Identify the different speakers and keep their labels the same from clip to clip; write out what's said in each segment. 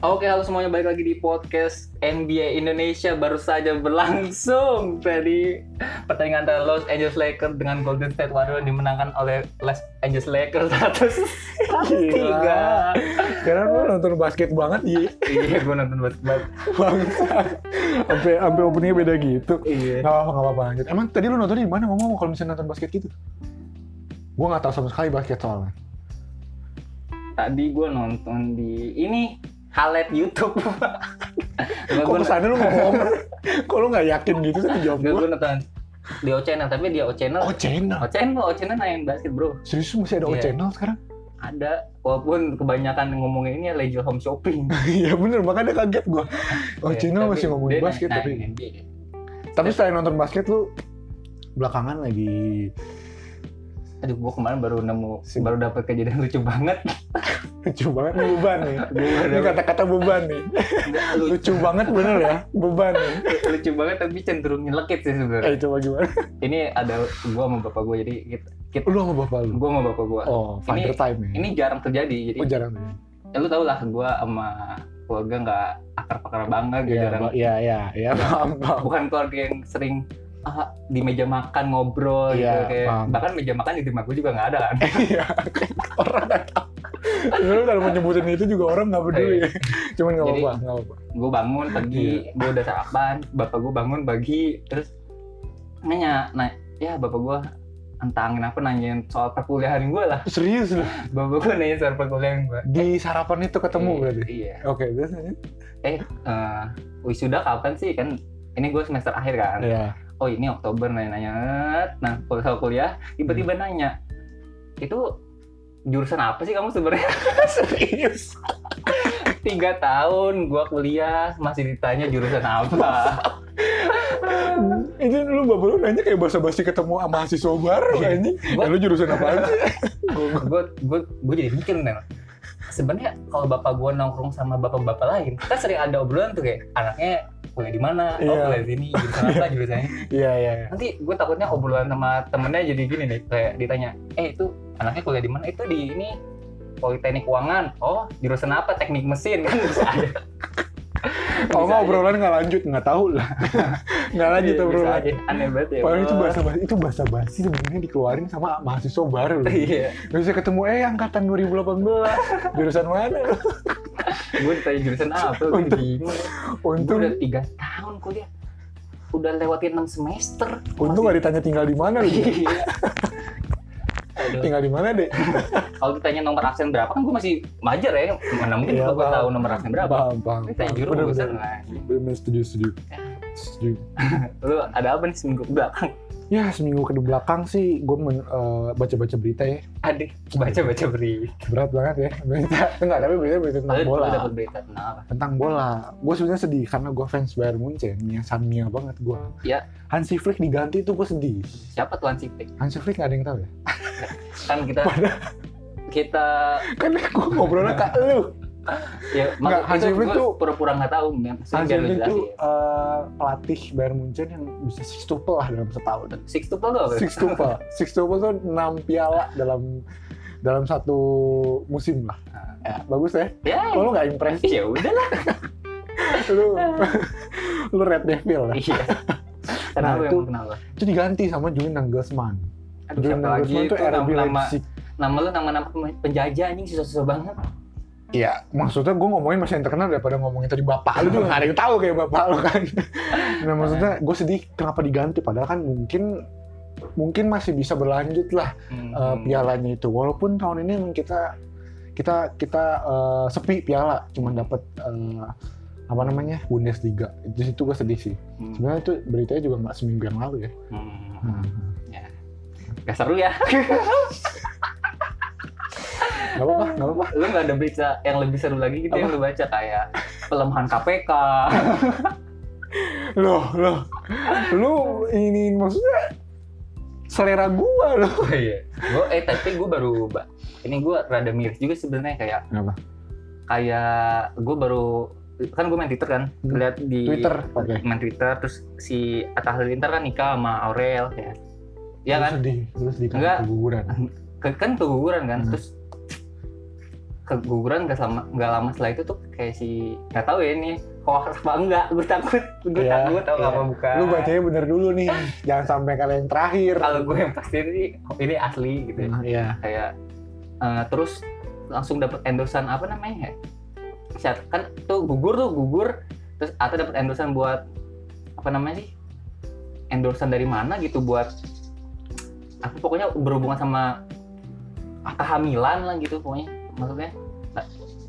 Speaker 1: Oke, halo semuanya balik lagi di podcast NBA Indonesia baru saja berlangsung tadi pertandingan antara Los Angeles Lakers dengan Golden State Warriors dimenangkan oleh Los Angeles Lakers 103.
Speaker 2: Karena lu nonton basket banget iya.
Speaker 1: iya, gue nonton basket. banget.
Speaker 2: Bangsa. Sampai sampai openingnya beda gitu.
Speaker 1: Iya.
Speaker 2: Gak apa-apa, gak apa-apa lanjut. Emang tadi lu nontonnya di mana ngomong kalau misalnya nonton basket gitu? Gua nggak tahu sama sekali basket soalnya.
Speaker 1: Tadi gue nonton di ini highlight YouTube. Gua-
Speaker 2: Kok
Speaker 1: gua-
Speaker 2: kesannya lu ngomong? Kok lu nggak yakin gitu sih dijawab
Speaker 1: Gak
Speaker 2: gua?
Speaker 1: gue nonton di O Channel, tapi di O Channel
Speaker 2: Oh channel.
Speaker 1: O Channel, O Channel main basket bro
Speaker 2: Serius lu masih ada O
Speaker 1: Iya.
Speaker 2: channel sekarang?
Speaker 1: Ada, walaupun kebanyakan ngomongin ini Leisure Home Shopping
Speaker 2: Iya bener, makanya kaget gua. O Oh,
Speaker 1: Iya,
Speaker 2: channel
Speaker 1: Tapi
Speaker 2: masih ngomongin
Speaker 1: dia
Speaker 2: basket
Speaker 1: naik-
Speaker 2: tapi.
Speaker 1: naik NBA.
Speaker 2: Tapi selain nonton basket lu belakangan lagi
Speaker 1: Aduh, gua kemarin baru nemu,
Speaker 2: Sip.
Speaker 1: baru dapat kejadian lucu banget
Speaker 2: lucu banget beban nih.
Speaker 1: Beban,
Speaker 2: Ini
Speaker 1: beban.
Speaker 2: kata-kata beban nih.
Speaker 1: lucu,
Speaker 2: Lucu banget bener ya, beban nih.
Speaker 1: lucu banget tapi cenderung nyelekit sih
Speaker 2: Eh
Speaker 1: sebenarnya
Speaker 2: coba gimana?
Speaker 1: Ini ada gua sama bapak gua, jadi kita, kita
Speaker 2: Lu sama bapak lu?
Speaker 1: gua sama bapak gua
Speaker 2: Oh, father time ya?
Speaker 1: Ini jarang terjadi, jadi
Speaker 2: oh, jarang ya?
Speaker 1: ya lu tau lah gua sama keluarga nggak akar-pakar banget,
Speaker 2: Iya,
Speaker 1: jarang
Speaker 2: Pak. iya, iya, iya, paham, paham.
Speaker 1: bukan keluarga yang sering ah, di meja makan ngobrol gitu
Speaker 2: Iya,
Speaker 1: kayak
Speaker 2: paham.
Speaker 1: bahkan meja makan di rumah gue juga nggak ada kan
Speaker 2: Iya, orang nggak tahu. Sebenarnya kalau mau nyebutin itu juga orang nggak peduli. Cuman nggak
Speaker 1: Iya, Jadi-
Speaker 2: apa-apa, nggak apa-apa.
Speaker 1: gue bangun pagi
Speaker 2: Iya.
Speaker 1: gue udah sarapan bapak gue bangun pagi terus nanya nah ya bapak gue entangin apa nanyain soal perkuliahan gue lah
Speaker 2: Serius lu?
Speaker 1: bapak gue nanya soal perkuliahan gue
Speaker 2: Di sarapan itu ketemu berarti?
Speaker 1: iya
Speaker 2: Oke, terus lanjut.
Speaker 1: Eh, wisuda kapan sih kan ini gue semester akhir kan
Speaker 2: Iya.
Speaker 1: oh ini Oktober nanya-nanya nah kalau soal kuliah tiba-tiba
Speaker 2: Hmm.
Speaker 1: nanya itu jurusan apa sih kamu sebenarnya
Speaker 2: Serius?
Speaker 1: tiga tahun gua kuliah masih ditanya jurusan apa
Speaker 2: itu lu bapak lu nanya kayak basa-basi ketemu sama mahasiswa baru
Speaker 1: Iya.
Speaker 2: anjing.
Speaker 1: Gua-
Speaker 2: Ya, lu jurusan apaan sih?
Speaker 1: gue gue gue jadi mikir nih sebenarnya kalau bapak gua nongkrong sama bapak-bapak lain kan sering ada obrolan tuh kayak anaknya kuliah di mana oh
Speaker 2: Iya.
Speaker 1: kuliah di sini jurusan apa jurusannya
Speaker 2: Iya, iya. iya.
Speaker 1: nanti gue takutnya obrolan sama temennya jadi gini nih kayak ditanya eh itu anaknya kuliah di mana itu di ini politeknik keuangan oh jurusan apa teknik mesin kan bisa ada Bisa
Speaker 2: Oh, nggak
Speaker 1: aja. Iya,
Speaker 2: obrolan nggak lanjut, nggak tahu lah. Nggak lanjut
Speaker 1: Bisa
Speaker 2: obrolan.
Speaker 1: aja. aneh banget ya
Speaker 2: Padahal itu
Speaker 1: Allah.
Speaker 2: bahasa basi itu bahasa basi sebenarnya dikeluarin sama mahasiswa baru. loh.
Speaker 1: iya
Speaker 2: Gak bisa ketemu eh angkatan 2018 jurusan mana lu?
Speaker 1: gue ditanya jurusan apa gue
Speaker 2: Untung-
Speaker 1: bingung gue
Speaker 2: Untung
Speaker 1: udah tiga tahun kuliah udah lewatin enam semester
Speaker 2: untung gak ditanya tinggal di mana lu.
Speaker 1: Masih- Iya. Aduh,
Speaker 2: tinggal di mana deh?
Speaker 1: kalau ditanya nomor absen berapa kan gue masih majer ya mana mungkin
Speaker 2: Iya,
Speaker 1: kalau gue
Speaker 2: paham.
Speaker 1: tahu nomor absen berapa
Speaker 2: Paham, paham.
Speaker 1: Ini tanya
Speaker 2: paham. Bener,
Speaker 1: jurusan Ya.
Speaker 2: bener.
Speaker 1: lah
Speaker 2: Bener, setuju, setuju. Setuju.
Speaker 1: lu ada apa nih seminggu ke belakang
Speaker 2: Ya seminggu ke belakang sih gue baca-baca berita ya.
Speaker 1: adik baca baca berita
Speaker 2: Berat banget ya. Berita. Enggak, tapi berita, berita tentang
Speaker 1: lu lu
Speaker 2: bola.
Speaker 1: dapat berita tentang apa
Speaker 2: Tentang bola. Gue sebenarnya sedih karena gue fans Bayern Munchen. Mia San Mia banget gue.
Speaker 1: Iya.
Speaker 2: Hansi Flick diganti tuh gue sedih.
Speaker 1: siapa tuan Sipik
Speaker 2: Hansi Flick gak ada yang tahu ya?
Speaker 1: kan kita kita
Speaker 2: Kan gue ngobrolnya ke lu.
Speaker 1: ya
Speaker 2: Nggak,
Speaker 1: maksud
Speaker 2: Hansi
Speaker 1: itu
Speaker 2: Flick
Speaker 1: gue
Speaker 2: tuh-
Speaker 1: pura-pura nggak tahu men Maksudnya
Speaker 2: Hansi
Speaker 1: biar lu
Speaker 2: Flick
Speaker 1: jelasin
Speaker 2: itu eh, pelatih Bayern Munchen yang bisa sextuple lah dalam setahun.
Speaker 1: six tuple tuh apa
Speaker 2: Sextuple, sextuple tuh enam piala dalam dalam satu musim lah.
Speaker 1: Ah.
Speaker 2: Ya, bagus ya.
Speaker 1: ya
Speaker 2: Kalau lu nggak impress,
Speaker 1: ya udah lah
Speaker 2: lu lu Red Devil lah.
Speaker 1: iya kenapa
Speaker 2: Nah,
Speaker 1: yang
Speaker 2: itu-
Speaker 1: kenapa
Speaker 2: Itu diganti sama Julian Nagelsmann.
Speaker 1: Aduh,
Speaker 2: Julian
Speaker 1: siapa lagi
Speaker 2: Nagelsmann
Speaker 1: itu
Speaker 2: tuh RB
Speaker 1: nama,
Speaker 2: Leipzig.
Speaker 1: nama lu nama-nama penjajah anjing susah-susah banget.
Speaker 2: Iya, maksudnya gue ngomongin masih yang terkenal daripada ngomongin tadi bapak lu juga nggak ada yang tahu kayak bapak lu kan. Nah maksudnya gue sedih kenapa diganti padahal kan mungkin mungkin masih bisa berlanjut lah
Speaker 1: Hmm.
Speaker 2: eh, pialanya itu. Walaupun tahun ini emang kita kita kita eh, sepi piala, cuma dapat eh, apa namanya Bundesliga. Di situ gue sedih sih.
Speaker 1: Hmm.
Speaker 2: Sebenarnya itu beritanya juga nggak seminggu yang lalu ya.
Speaker 1: Hmm.
Speaker 2: Hmm.
Speaker 1: Gak seru ya.
Speaker 2: Gak apa-apa, gak apa-apa.
Speaker 1: Lu gak ada berita yang lebih seru lagi gitu yang lu baca kayak pelemahan KPK.
Speaker 2: Loh, loh, lu ini maksudnya selera gua loh.
Speaker 1: Oh, iya. Gua, eh tapi gue baru ba- ini gue rada miris juga sebenarnya kayak
Speaker 2: Kenapa?
Speaker 1: kayak gue baru kan gue main Twitter kan
Speaker 2: Hmm.
Speaker 1: lihat di
Speaker 2: Twitter, oke.
Speaker 1: main Twitter terus si Atta Halilintar kan nikah sama Aurel ya. Iya
Speaker 2: Lu
Speaker 1: kan?
Speaker 2: Sedih, terus di
Speaker 1: Enggak.
Speaker 2: keguguran.
Speaker 1: Ke- kan keguguran kan
Speaker 2: Hmm.
Speaker 1: terus keguguran gak lama nggak lama setelah itu tuh kayak si nggak tahu ya ini hoax apa enggak gue takut gue
Speaker 2: Iya,
Speaker 1: takut tau
Speaker 2: iya.
Speaker 1: apa bukan
Speaker 2: Lu bacanya bener dulu nih, jangan sampai kalian terakhir.
Speaker 1: kalau gue yang pasti ini ini asli gitu ya.
Speaker 2: Nah, Iya.
Speaker 1: kayak eh, terus langsung dapat endorsan apa namanya ya Saat- kan tuh gugur tuh gugur terus atau dapat endorsan buat apa namanya sih endorsan dari mana gitu buat aku pokoknya berhubungan sama kehamilan lah gitu pokoknya maksudnya nah,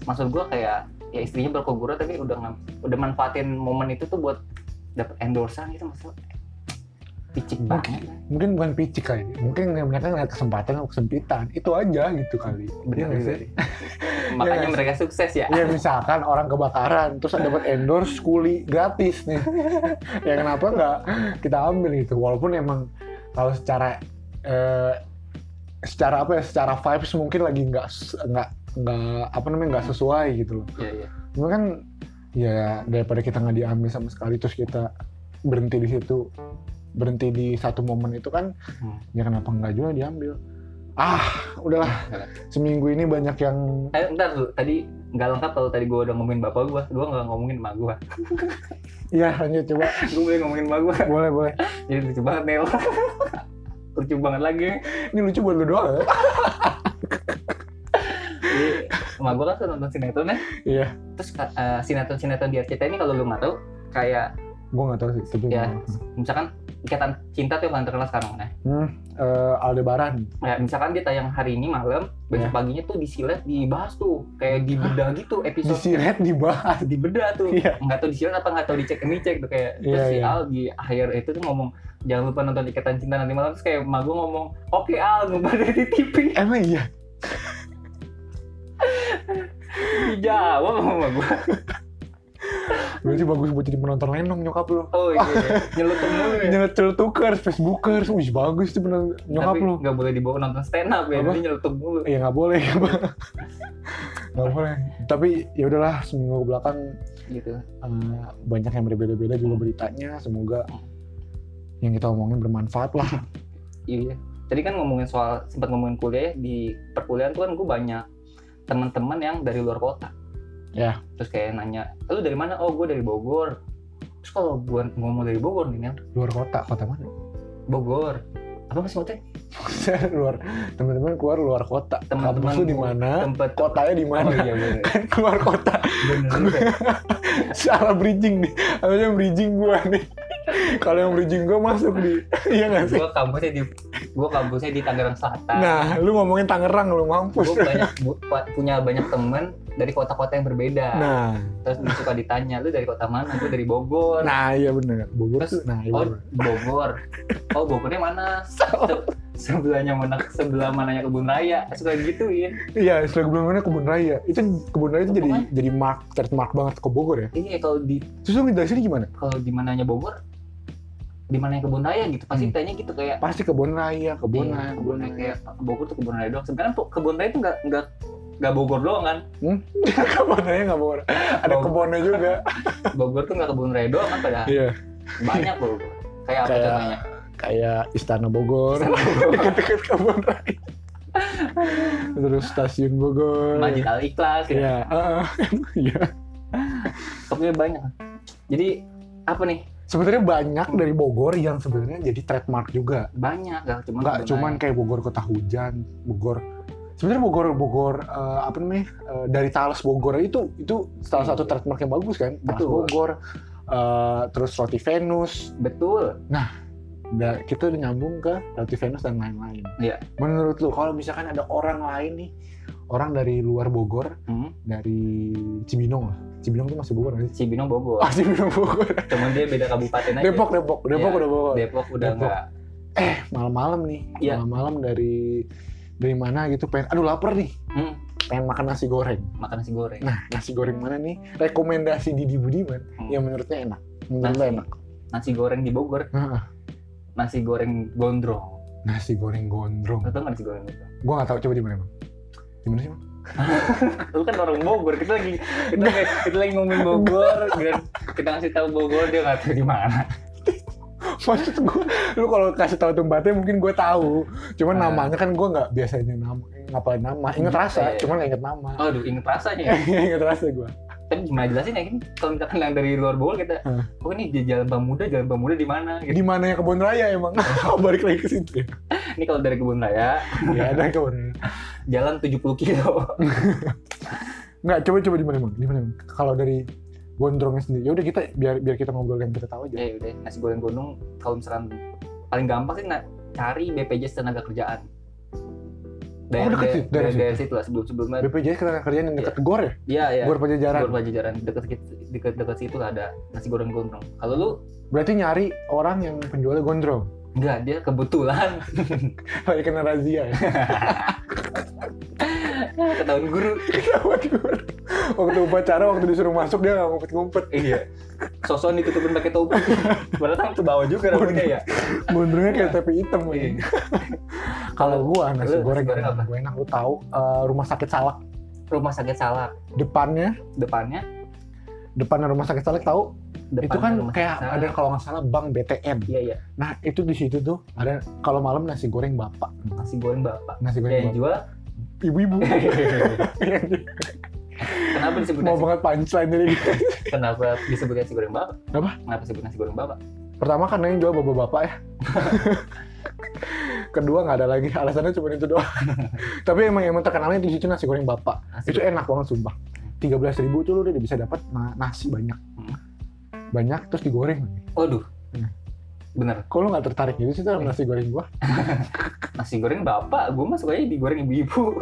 Speaker 1: maksud gua kayak ya istrinya berkeguguran tapi udah ngam- udah manfaatin momen itu tuh buat dapat endorsan gitu maksud picik banget lah.
Speaker 2: Mungkin bukan picik kali, mungkin mereka ngeliat kesempatan atau kesempitan. Itu aja gitu kali.
Speaker 1: Bener
Speaker 2: Iya nggak
Speaker 1: juga
Speaker 2: sih?
Speaker 1: makanya
Speaker 2: nggak sih?
Speaker 1: mereka sukses ya
Speaker 2: Ya misalkan orang kebakaran, terus dapat endorse kuli gratis nih. ya kenapa nggak kita ambil gitu? Walaupun emang kalau secara eh, secara apa ya, secara vibes mungkin lagi nggak s- nggak nggak apa namanya nggak sesuai gitu loh.
Speaker 1: Iya, iya.
Speaker 2: Cuma kan ya daripada kita nggak diambil sama sekali terus kita berhenti di situ berhenti di satu momen itu kan
Speaker 1: Hmm.
Speaker 2: ya kenapa nggak juga diambil ah udahlah seminggu ini banyak yang
Speaker 1: Eh, ntar dulu. Tadi nggak lengkap kalau tadi gua udah ngomongin bapak gua gua nggak ngomongin emak gua
Speaker 2: ya lanjut coba
Speaker 1: Gua boleh ngomongin emak gua
Speaker 2: boleh boleh
Speaker 1: Jadi lucu banget, Nel. lucu banget lagi.
Speaker 2: ini lucu buat lu doang ya
Speaker 1: Jadi, emak gua kan suka nonton sinetron ya.
Speaker 2: iya
Speaker 1: Terus eh, sinetron-sinetron di RCTI ini kalau lu nggak tahu, kayak
Speaker 2: gue nggak tahu sih tapi
Speaker 1: Ya.
Speaker 2: gua-
Speaker 1: misalkan Ikatan Cinta tuh yang paling terkenal sekarang. Nah,
Speaker 2: hmm, eh, Aldebaran
Speaker 1: Nah, misalkan dia tayang hari ini malam, besok paginya tuh disilet dibahas tuh. Kayak dibedah gitu episode
Speaker 2: disiret dibahas
Speaker 1: dibedah tuh
Speaker 2: Iya.
Speaker 1: nggak tahu disilet apa nggak tahu dicek ini cek tuh kayak terus
Speaker 2: Iya,
Speaker 1: si
Speaker 2: iya.
Speaker 1: Al di akhir itu tuh ngomong jangan lupa nonton ikatan cinta nanti malam terus kayak emak gue ngomong oke Al ngebadah di TV
Speaker 2: emang iya
Speaker 1: dijawab sama emak gue
Speaker 2: berarti bagus buat jadi penonton lenong nyokap lo
Speaker 1: oh iya, iya. nyelutup mulu ya
Speaker 2: nyetel tukers facebookers wih bagus tuh bener nyokap
Speaker 1: tapi
Speaker 2: lo
Speaker 1: nggak boleh dibawa nonton stand up ya
Speaker 2: Apa?
Speaker 1: jadi nyelutup mulu
Speaker 2: ya nggak boleh nggak boleh tapi ya udahlah seminggu ke belakang
Speaker 1: gitu
Speaker 2: eh, banyak yang berbeda-beda juga beritanya semoga yang kita omongin bermanfaat lah
Speaker 1: iya tadi kan ngomongin soal sempat ngomongin kuliah ya, di perkuliahan tuh kan gue banyak teman-teman yang dari luar kota
Speaker 2: Ya.
Speaker 1: terus kayak nanya "Eh, lu dari mana oh gue dari Bogor terus kalau gue ngomong dari Bogor nih Nel
Speaker 2: luar kota kota mana
Speaker 1: Bogor apa mas maksudnya
Speaker 2: luar teman-teman keluar luar kota
Speaker 1: Teman-teman
Speaker 2: kampus lu di
Speaker 1: gua-
Speaker 2: mana
Speaker 1: tempat
Speaker 2: kotanya di
Speaker 1: oh
Speaker 2: mana
Speaker 1: iya bener
Speaker 2: kan keluar kota
Speaker 1: bener juga.
Speaker 2: salah bridging nih harusnya bridging gua nih kalau yang bridging gua masuk di iya nggak sih
Speaker 1: gue kampusnya di gue kampusnya di Tangerang Selatan
Speaker 2: nah lu ngomongin Tangerang lu
Speaker 1: gue
Speaker 2: mampus
Speaker 1: banyak bu- pa- punya banyak temen dari kota-kota yang berbeda
Speaker 2: nah
Speaker 1: terus suka ditanya lu dari kota mana gue dari Bogor
Speaker 2: nah iya bener Bogor
Speaker 1: Terus,
Speaker 2: tuh nah iya
Speaker 1: Oh
Speaker 2: bener.
Speaker 1: Bogor. Oh Bogornya mana? Se- sebelahnya mana? Sebelah mananya kebun raya? Suka gituin.
Speaker 2: Iya, setelah kebun raya kebun raya. Itu kebun raya itu jadi
Speaker 1: Pokoknya-
Speaker 2: jadi mark trademark banget ke Bogor ya.
Speaker 1: Ini Iya, kalau di
Speaker 2: Terus lu ngejelasin gimana?
Speaker 1: kalau di mananya Bogor, di mananya kebun raya gitu. Pasti
Speaker 2: Hmm.
Speaker 1: tanya gitu kayak
Speaker 2: Pasti kebun raya, kebun
Speaker 1: iya,
Speaker 2: raya,
Speaker 1: kebun
Speaker 2: kebun
Speaker 1: raya
Speaker 2: raya.
Speaker 1: kayak Bogor tuh kebun raya doang. Sebenarnya po- kebun raya itu nggak nggak nggak Bogor doang kan?
Speaker 2: kebun raya nggak Bogor. Ada
Speaker 1: Bogor.
Speaker 2: kebunnya juga.
Speaker 1: Bogor tuh nggak kebun raya doang kan padahal
Speaker 2: Iya.
Speaker 1: banyak Bogor. Kayak apa
Speaker 2: Kayak-
Speaker 1: contohnya?
Speaker 2: Kayak Istana Bogor, dekat-dekat kebun raya. Terus stasiun Bogor.
Speaker 1: Masjid Al Ikhlas. gitu.
Speaker 2: Iya. heeh. Iya.
Speaker 1: Pokoknya banyak. Jadi apa nih?
Speaker 2: Sebenarnya banyak dari Bogor yang sebenarnya jadi trademark juga.
Speaker 1: Banyak nggak cuma
Speaker 2: Nggak cuman kayak Bogor kota hujan, Bogor. Sebenarnya Bogor Bogor eh, apa namanya eh, dari Talas Bogor itu itu salah satu
Speaker 1: Iya.
Speaker 2: trademark yang bagus kan. Talas
Speaker 1: Betul.
Speaker 2: Bogor, eh, terus roti Venus.
Speaker 1: betul.
Speaker 2: Nah, kita udah nyambung ke roti Venus dan lain-lain.
Speaker 1: Iya.
Speaker 2: Menurut lu kalau misalkan ada orang lain nih, orang dari luar Bogor,
Speaker 1: Hmm.
Speaker 2: dari Cibinong lah. Cibinong tuh masih Bogor nggak sih?
Speaker 1: Cibinong Bogor.
Speaker 2: Ah, Cibinong Bogor.
Speaker 1: Cuman dia beda kabupaten aja.
Speaker 2: Depok, Depok, Depok
Speaker 1: Iya.
Speaker 2: udah Bogor.
Speaker 1: Depok udah
Speaker 2: Depok.
Speaker 1: nggak
Speaker 2: Malam-malam nih,
Speaker 1: Iya.
Speaker 2: malam-malam dari dari mana gitu pengen aduh lapar nih
Speaker 1: hmm,
Speaker 2: pengen makan nasi goreng
Speaker 1: makan nasi goreng.
Speaker 2: Nah, nasi goreng mana nih? Rekomendasi Didi Budiman
Speaker 1: Hmm.
Speaker 2: yang menurutnya enak. Menurut
Speaker 1: Nasi.
Speaker 2: lo enak.
Speaker 1: Nasi goreng di Bogor,
Speaker 2: Heeh.
Speaker 1: nasi goreng gondrong.
Speaker 2: Nasi goreng gondrong.
Speaker 1: Lu tau nggak nasi goreng gondrong?
Speaker 2: Gua nggak tahu coba di mana, Bang. Di mana sih, Bang?
Speaker 1: Lu kan orang Bogor, kita lagi kita, lagi, kita lagi ngomongin Bogor dan kita ngasih tahu Bogor dia nggak tahu di mana.
Speaker 2: maksud gue lu kalau kasih tahu tempatnya mungkin gue tahu cuman
Speaker 1: Ah.
Speaker 2: namanya kan gue nggak biasanya nama ngapalin nama inget
Speaker 1: Iya,
Speaker 2: rasa
Speaker 1: iya.
Speaker 2: cuman nggak inget nama
Speaker 1: Aduh, inget rasanya ya.
Speaker 2: inget rasa gue
Speaker 1: Tapi gimana jelasin ya, kan? Kalau misalkan yang dari luar Bogor kita,
Speaker 2: Hmm.
Speaker 1: oh ini di Jalan Pemuda, Jalan Pemuda di mana? Gitu.
Speaker 2: di mana ya kebun raya emang balik lagi ke situ ya?
Speaker 1: Ini kalau dari Kebun Raya,
Speaker 2: ya ada kebun raya
Speaker 1: jalan 70 kilo.
Speaker 2: nggak coba coba di mana emang di mana emang? kalau dari gondrongnya sendiri ya udah kita biar biar kita ngobrol yang kita tahu aja
Speaker 1: ya udah, nasi goreng gunung kalau misalkan paling gampang sih na- cari BPJS tenaga kerjaan. Daerah,
Speaker 2: Oh, deket
Speaker 1: daerah,
Speaker 2: sih, daerah
Speaker 1: daerah, daerah situ lah sebelum sebelumnya.
Speaker 2: BPJS ketenaga kerjaan yang dekat gor ya
Speaker 1: Iya iya.
Speaker 2: gor pajajaran
Speaker 1: Gor Pajajaran dekat dekat dekat situ lah ada nasi goreng gondrong. Kalau lu
Speaker 2: berarti nyari orang yang penjualnya gondrong
Speaker 1: enggak dia kebetulan
Speaker 2: lagi kena razia ya
Speaker 1: ketahuan guru.
Speaker 2: Ketahuan gua. waktu upacara waktu disuruh masuk dia nggak ngumpet-ngumpet
Speaker 1: iya. Soson ditutupin pakai topi. Padahal kan ke bawah juga rambutnya ya.
Speaker 2: gondrongnya kayak tapi hitam
Speaker 1: Iya.
Speaker 2: lagi kalau gua nasi
Speaker 1: Lu nasi
Speaker 2: goreng
Speaker 1: goreng apa?
Speaker 2: gue enak lu tahu eh, rumah sakit salak
Speaker 1: Rumah sakit Salak
Speaker 2: depannya
Speaker 1: depannya
Speaker 2: depannya rumah sakit salak tahu
Speaker 1: depannya
Speaker 2: itu kan
Speaker 1: rumah
Speaker 2: kayak
Speaker 1: sakit Salak.
Speaker 2: ada kalau nggak salah bank BTN
Speaker 1: Iya iya
Speaker 2: nah itu di situ tuh ada kalau malam nasi goreng bapak
Speaker 1: nasi goreng bapak.
Speaker 2: nasi goreng
Speaker 1: Yang
Speaker 2: bapak
Speaker 1: jual
Speaker 2: ibu-ibu
Speaker 1: Kenapa disebut
Speaker 2: mau
Speaker 1: nasi
Speaker 2: banget punchline dari
Speaker 1: Kenapa disebut nasi goreng bapak?
Speaker 2: Apa?
Speaker 1: Kenapa disebut nasi goreng bapak?
Speaker 2: pertama karena yang jual bapak-bapak ya kedua nggak ada lagi alasannya cuma itu doang tapi emang emang terkenalnya di situ nasi goreng bapak
Speaker 1: Nasi
Speaker 2: itu enak banget sumpah 13.000 ribu tuh lu udah bisa dapat na- nasi banyak
Speaker 1: Hmm.
Speaker 2: banyak terus digoreng
Speaker 1: Waduh.
Speaker 2: Hmm.
Speaker 1: Bener,
Speaker 2: kalau nggak tertarik gitu sih
Speaker 1: Hmm.
Speaker 2: sama nasi goreng gua
Speaker 1: nasi goreng bapak, gue mah sukanya digoreng ibu-ibu.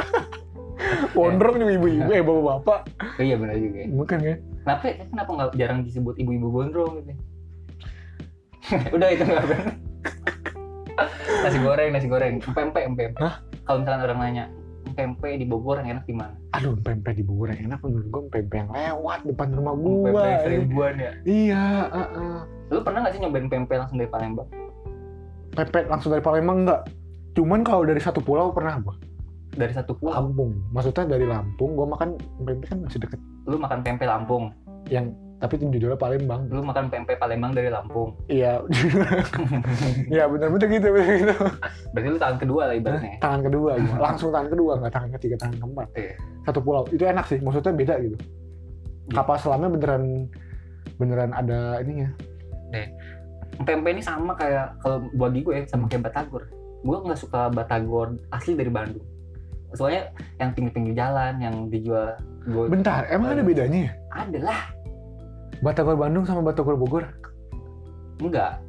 Speaker 2: gondrong juga ibu-ibu
Speaker 1: ya,
Speaker 2: eh bapak-bapak
Speaker 1: Oh iya bener juga. ya.
Speaker 2: bukan ya
Speaker 1: Kenapa kenapa nggak jarang disebut ibu-ibu gondrong gitu? Udah itu nggak bener. nasi goreng, nasi goreng, pempek, pempek.
Speaker 2: Hah?
Speaker 1: Kalau misalnya orang nanya, pempek di Bogor yang enak di mana?
Speaker 2: aduh pempek di Bogor yang enak menurut gua pempek yang lewat depan rumah gua
Speaker 1: Hmm, Pempek seribuan ya.
Speaker 2: iya uh-uh.
Speaker 1: Lu pernah nggak sih nyobain pempek langsung dari Palembang?
Speaker 2: pempek langsung dari Palembang enggak cuman kalau dari satu pulau pernah gua
Speaker 1: Dari satu pulau,
Speaker 2: Lampung maksudnya dari Lampung gua makan pempek kan masih deket
Speaker 1: lu makan pempek Lampung,
Speaker 2: yang tapi itu judulnya Palembang
Speaker 1: lu makan pempek Palembang dari Lampung.
Speaker 2: iya ya bener-bener gitu, bener gitu.
Speaker 1: Berarti lu tangan kedua lah ibaratnya.
Speaker 2: Nah, tangan kedua gua. langsung tangan kedua nggak tangan ketiga tangan keempat
Speaker 1: Iya.
Speaker 2: satu pulau itu enak sih maksudnya beda gitu kapal selamnya beneran beneran ada ininya
Speaker 1: pempek ini sama kayak kalau bagi gue ya, sama kayak batagor gue nggak suka batagor asli dari Bandung soalnya yang pinggir-pinggir jalan yang dijual gue
Speaker 2: bentar
Speaker 1: Iya.
Speaker 2: emang ada bedanya ya
Speaker 1: adalah
Speaker 2: Batagor Bandung sama Batagor Bogor
Speaker 1: enggak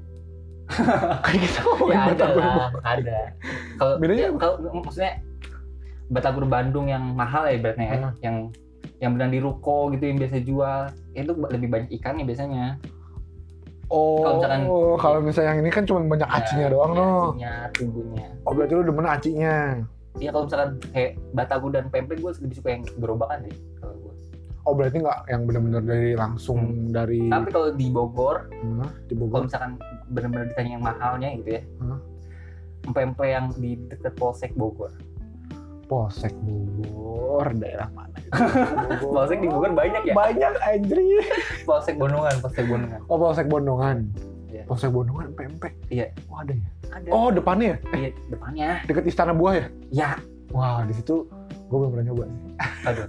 Speaker 2: kayak kita ngomongin
Speaker 1: ya ada
Speaker 2: Iya, Batagor
Speaker 1: lah
Speaker 2: Bogor
Speaker 1: ada kalau
Speaker 2: Bedanya
Speaker 1: ya,
Speaker 2: apa?
Speaker 1: kalau maksudnya batagor Bandung yang mahal ya ibaratnya ya
Speaker 2: Hmm.
Speaker 1: yang yang benar di ruko gitu yang biasa jual itu lebih banyak ikannya biasanya
Speaker 2: oh
Speaker 1: Kalau misalkan-
Speaker 2: kalau misalnya yang ini kan cuma banyak acinya doang
Speaker 1: ya,
Speaker 2: no
Speaker 1: acinya tubuhnya
Speaker 2: oh berarti lu demen acinya
Speaker 1: ya kalau misalkan kayak batagor dan pempek gue lebih suka yang gerobakan sih kalau gue
Speaker 2: oh berarti nggak yang bener-bener dari langsung dari
Speaker 1: Hmm. tapi kalau di Bogor
Speaker 2: Hah? di
Speaker 1: kalau
Speaker 2: Bogor
Speaker 1: misalkan benar-benar ditanya yang mahalnya gitu ya
Speaker 2: Hah?
Speaker 1: pempek yang di dekat Polsek Bogor
Speaker 2: Polsek Bogor daerah mana itu?
Speaker 1: Polsek di Bogor banyak ya
Speaker 2: banyak anjir
Speaker 1: Polsek Bonongan Polsek Bonongan
Speaker 2: oh Polsek Bondongan
Speaker 1: Iya.
Speaker 2: Polsek Bondongan pempek
Speaker 1: Iya.
Speaker 2: wah ada ya
Speaker 1: ada
Speaker 2: oh depannya ya
Speaker 1: di Iya, depannya
Speaker 2: deket Istana Buah ya
Speaker 1: ya
Speaker 2: wah di situ gue belum pernah nyoba
Speaker 1: aduh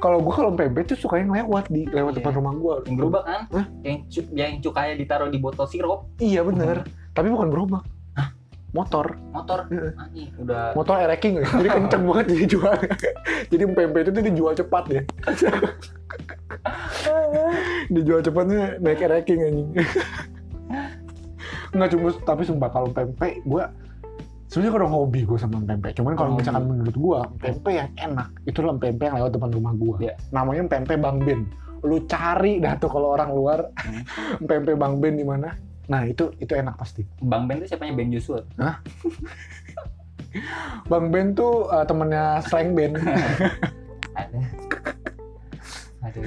Speaker 2: kalau gue kalau pempek tuh suka yang lewat di lewat
Speaker 1: Iya.
Speaker 2: depan rumah gue
Speaker 1: yang gerobak kan
Speaker 2: Hah?
Speaker 1: yang cu- yang cukanya ditaruh di botol sirup
Speaker 2: iya bener tapi bukan gerobak motor
Speaker 1: motor
Speaker 2: Iya.
Speaker 1: anjing udah
Speaker 2: motor ereking ya. jadi kenceng banget jadi jual jadi pempek itu tuh dijual cepat ya dijual cepatnya naik ereking anjing nggak cuma tapi sumpah kalau pempek gue sebenarnya kurang hobi gue sama pempek cuman kalau
Speaker 1: Kurang
Speaker 2: misalkan menurut gue pempek yang enak itu loh pempek yang lewat depan rumah gue
Speaker 1: Iya.
Speaker 2: namanya pempek bang ben lu cari dah tuh kalau orang luar pempek bang ben di mana nah itu itu enak pasti
Speaker 1: Bang Ben tuh siapanya Ben Joshua
Speaker 2: bang ben tuh eh, temennya slang ben
Speaker 1: ada aduh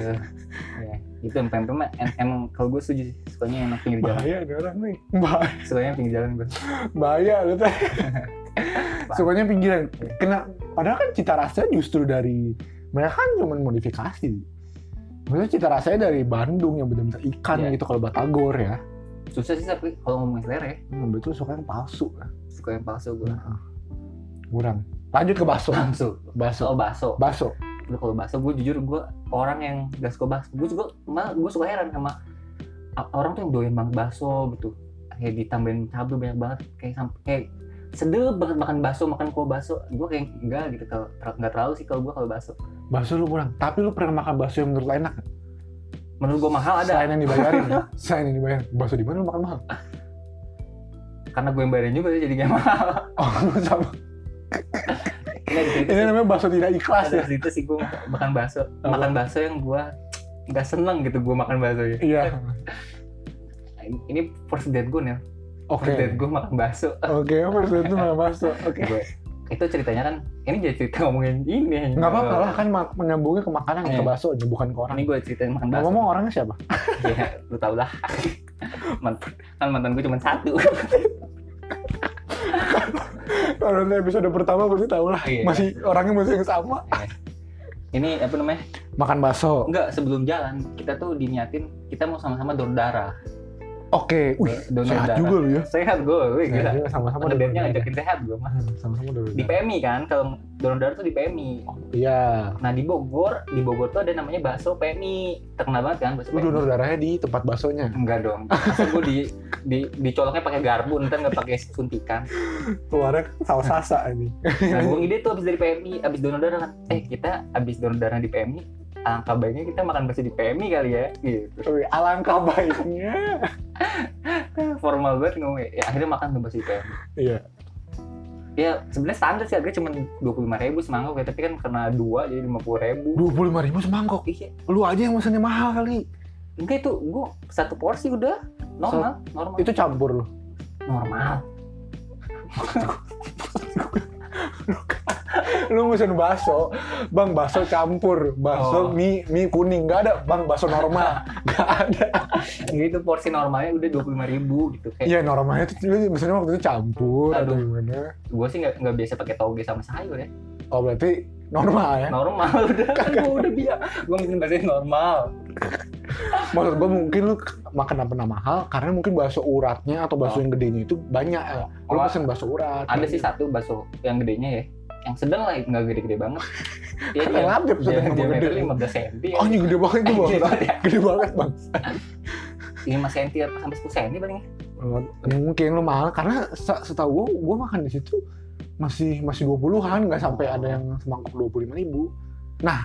Speaker 1: ya itu pempek mah em- emang kalau gue setuju sih sukanya yang pinggir jalan
Speaker 2: bahaya ada orang nih bahaya,
Speaker 1: sukanya pinggir jalan gue
Speaker 2: bahaya lu teh sukanya pinggiran kena padahal kan cita rasanya justru dari mereka kan cuma modifikasi maksudnya cita rasanya dari Bandung yang benar-benar ikan
Speaker 1: Iya.
Speaker 2: gitu kalau Batagor ya
Speaker 1: susah sih tapi kalau ngomongin selera ya
Speaker 2: Hmm, betul suka yang palsu.
Speaker 1: suka yang palsu gue
Speaker 2: Kurang. Lanjut ke bakso.
Speaker 1: langsung
Speaker 2: Bakso.
Speaker 1: soal bakso
Speaker 2: Bakso.
Speaker 1: Lu kalau bakso gue jujur gue orang yang gak suka bakso gue juga malah gue suka heran sama a- orang tuh yang doyan banget bakso gitu kayak ditambahin cabai banyak banget kayak sampai kayak sedep banget makan bakso makan kuah bakso gue kayak enggak gitu kalau ter- nggak terlalu sih kalau gue kalau bakso
Speaker 2: Bakso lu kurang. Tapi lu pernah makan bakso yang menurut lu enak?
Speaker 1: menurut gue mahal ada
Speaker 2: Selain yang dibayarin. ya. Selain yang dibayarin. Bakso di mana lu makan mahal?
Speaker 1: karena gue yang bayarin juga sih, jadi gak mahal
Speaker 2: Oh, sama.
Speaker 1: Nggak, di situ
Speaker 2: Ini
Speaker 1: sih-
Speaker 2: namanya bakso tidak ikhlas
Speaker 1: ada
Speaker 2: ya.
Speaker 1: di situ sih gue makan bakso makan bakso yang gue nggak seneng gitu gue makan bakso ya
Speaker 2: Iya.
Speaker 1: ini first date gue nih
Speaker 2: Oke.
Speaker 1: first date gue makan bakso
Speaker 2: Oke, first date tuh makan bakso. Oke.
Speaker 1: Gue- itu ceritanya kan ini jadi cerita ngomongin ini
Speaker 2: Nggak apa-apa lah kan ma- menyambungnya ke makanan ke
Speaker 1: Iya.
Speaker 2: bakso aja bukan ke orang.
Speaker 1: ini gue ceritain makan bakso
Speaker 2: Ngomong-ngomong orangnya siapa?
Speaker 1: ya lu tau lah mantan kan mantan gue cuma satu
Speaker 2: Kalau nanti episode pertama pasti tahu lah.
Speaker 1: Iya.
Speaker 2: Masih orangnya masih yang sama.
Speaker 1: ini apa namanya
Speaker 2: Makan bakso.
Speaker 1: enggak sebelum jalan kita tuh diniatin kita mau sama-sama donor darah
Speaker 2: Oke. Wih,
Speaker 1: donor
Speaker 2: sehat
Speaker 1: darah
Speaker 2: juga lu ya.
Speaker 1: sehat gue wih
Speaker 2: Sehat
Speaker 1: gila
Speaker 2: juga, iya, Sama-sama
Speaker 1: Ada
Speaker 2: donor
Speaker 1: date-nya
Speaker 2: darah.
Speaker 1: ngajakin sehat gue mah
Speaker 2: Hmm, Sama-sama donor
Speaker 1: di
Speaker 2: darah.
Speaker 1: PMI kan kalau donor darah tuh di PMI
Speaker 2: Iya.
Speaker 1: Nah di Bogor, di Bogor tuh ada namanya bakso pemi. Terkenal banget kan bakso
Speaker 2: Lu
Speaker 1: pemi.
Speaker 2: donor darahnya di tempat baksonya.
Speaker 1: Enggak dong. Masa gue di, di dicoloknya pakai garpu, ntar nggak pakai suntikan.
Speaker 2: Keluarnya kan saus sasa ini.
Speaker 1: Nah gue ngide tuh abis dari PMI, abis donor darah kan. Eh kita abis donor darah di PMI, angka baiknya kita makan bakso di PMI kali ya. Gitu.
Speaker 2: Wih, alangkah baiknya.
Speaker 1: Kan Formal banget ngomongnya. Ya, akhirnya makan tuh bakso di PMI.
Speaker 2: Iya.
Speaker 1: Ya sebenarnya standar sih harganya cuma dua puluh lima ribu semangkuk ya, tapi kan karena dua jadi lima puluh ribu.
Speaker 2: Dua puluh lima ribu semangkok.
Speaker 1: Iya,
Speaker 2: Lu aja yang mesennya mahal kali.
Speaker 1: enggak itu gue satu porsi udah normal, normal,
Speaker 2: Itu campur lu.
Speaker 1: normal.
Speaker 2: Lu mesen bakso, bang bakso campur, bakso
Speaker 1: Oh.
Speaker 2: mie mie kuning nggak ada, bang bakso normal nggak ada.
Speaker 1: Jadi itu porsi normalnya udah dua ribu gitu kayak
Speaker 2: Iya normalnya itu lu misalnya waktu itu campur atau
Speaker 1: Aduh.
Speaker 2: gimana?
Speaker 1: gue sih nggak nggak biasa pakai toge sama sayur ya
Speaker 2: Oh berarti normal ya?
Speaker 1: normal udah kan gue udah biasa gue mungkin bahasanya normal
Speaker 2: Maksud gua mungkin lu makan apa mahal karena mungkin bakso uratnya atau bakso
Speaker 1: Oh.
Speaker 2: yang gedenya itu banyak. ya. Lu
Speaker 1: Oh,
Speaker 2: pesen bakso urat.
Speaker 1: ada sih satu bakso yang gedenya ya yang sedang lah nggak gede-gede banget ya,
Speaker 2: Kan ngeladep sudah
Speaker 1: dia,
Speaker 2: ngomong
Speaker 1: diameter
Speaker 2: gede.
Speaker 1: lima belas senti
Speaker 2: Oh ini gede banget tuh bang,
Speaker 1: Iya.
Speaker 2: gede banget bang.
Speaker 1: lima senti apa sampai sepuluh senti ya. palingnya
Speaker 2: Mungkin lu mahal karena se- setahu gua, gua makan di situ masih masih 20-an nggak sampai ada yang semangkuk 25 ribu. Nah,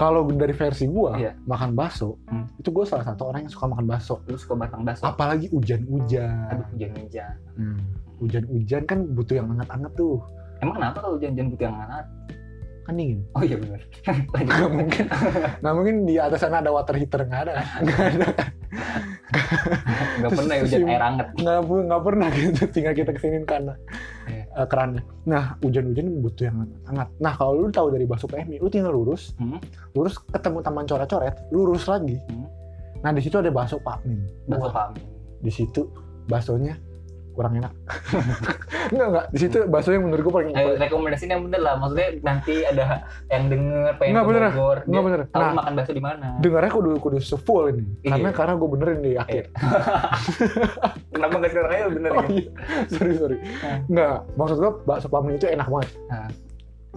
Speaker 2: kalau dari versi gua
Speaker 1: Iya.
Speaker 2: makan bakso,
Speaker 1: Hmm.
Speaker 2: itu gua salah satu orang yang suka makan bakso.
Speaker 1: lu suka batang bakso
Speaker 2: Apalagi hujan-hujan.
Speaker 1: aduh hujan-hujan
Speaker 2: Hmm. Hujan-hujan kan butuh yang hangat-hangat tuh.
Speaker 1: emang kenapa kalau hujan-hujan butuh yang hangat
Speaker 2: Kan dingin.
Speaker 1: oh iya benar Lanjut.
Speaker 2: Nggak mungkin. Nggak mungkin di atas sana ada water heater nggak ada. Nggak ada.
Speaker 1: nggak pernah ya hujan
Speaker 2: Sim-
Speaker 1: air hangat
Speaker 2: Nggak, pu- nggak pernah gitu. Tinggal kita kesinin karena
Speaker 1: Iya.
Speaker 2: eh, kerannya. Nah hujan-hujan butuh yang hangat. Nah kalau lu tahu dari bakso PMI, lu tinggal lurus,
Speaker 1: Hmm.
Speaker 2: lurus ketemu taman coret-coret, lurus lagi.
Speaker 1: Hmm.
Speaker 2: Nah di situ ada bakso Pak Min.
Speaker 1: bakso
Speaker 2: Wah,
Speaker 1: pami
Speaker 2: di situ baksonya kurang enak. Enggak enggak, di situ bakso yang menurut gua paling
Speaker 1: Ayo, Eh, rekomendasinya yang bener lah maksudnya nanti ada yang denger pengen
Speaker 2: Nggak
Speaker 1: ke
Speaker 2: bener,
Speaker 1: Bogor dia
Speaker 2: Enggak bener.
Speaker 1: tahu
Speaker 2: Nah,
Speaker 1: makan bakso di mana
Speaker 2: dengarnya kudu kudu sefull ini.
Speaker 1: Iya.
Speaker 2: Karena karena gue benerin di akhir.
Speaker 1: kenapa nggak sekarang aja bener
Speaker 2: Oh
Speaker 1: ya
Speaker 2: iya. sorry sorry.
Speaker 1: Nah.
Speaker 2: Nggak, maksud gue bakso pamin itu enak banget.
Speaker 1: Nah.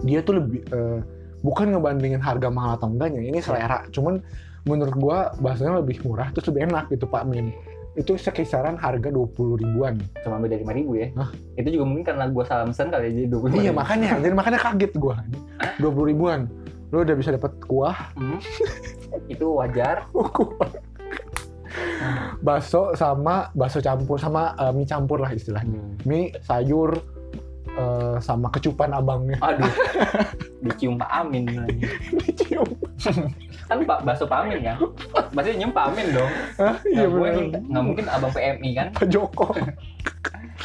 Speaker 2: Dia tuh lebih eh, bukan ngebandingin harga mahal atau enggaknya, ini selera. Cuman menurut gua bahasanya lebih murah terus lebih enak gitu Pak Min. Itu sekisaran harga 20 ribuan.
Speaker 1: iya. cuma beda lima ribu ya
Speaker 2: Hah?
Speaker 1: itu juga mungkin karena gua salah pesan kali ya, jadi dua puluh
Speaker 2: Iya makanya, jadi makanya kaget gua. 20 ribuan. Lu udah bisa dapat kuah,
Speaker 1: itu wajar
Speaker 2: kuah. bakso sama bakso campur sama eh, mie campur lah istilahnya. mie, sayur, eh, sama kecupan abangnya.
Speaker 1: aduh dicium Pak Amin lagi
Speaker 2: Dicium.
Speaker 1: kan Pak bakso Pak Amin kan Maksudnya nyium Pak Amin dong
Speaker 2: Hah? Iya
Speaker 1: Nggak mungkin-
Speaker 2: bener.
Speaker 1: nggak mungkin abang PMI kan
Speaker 2: Pak Joko.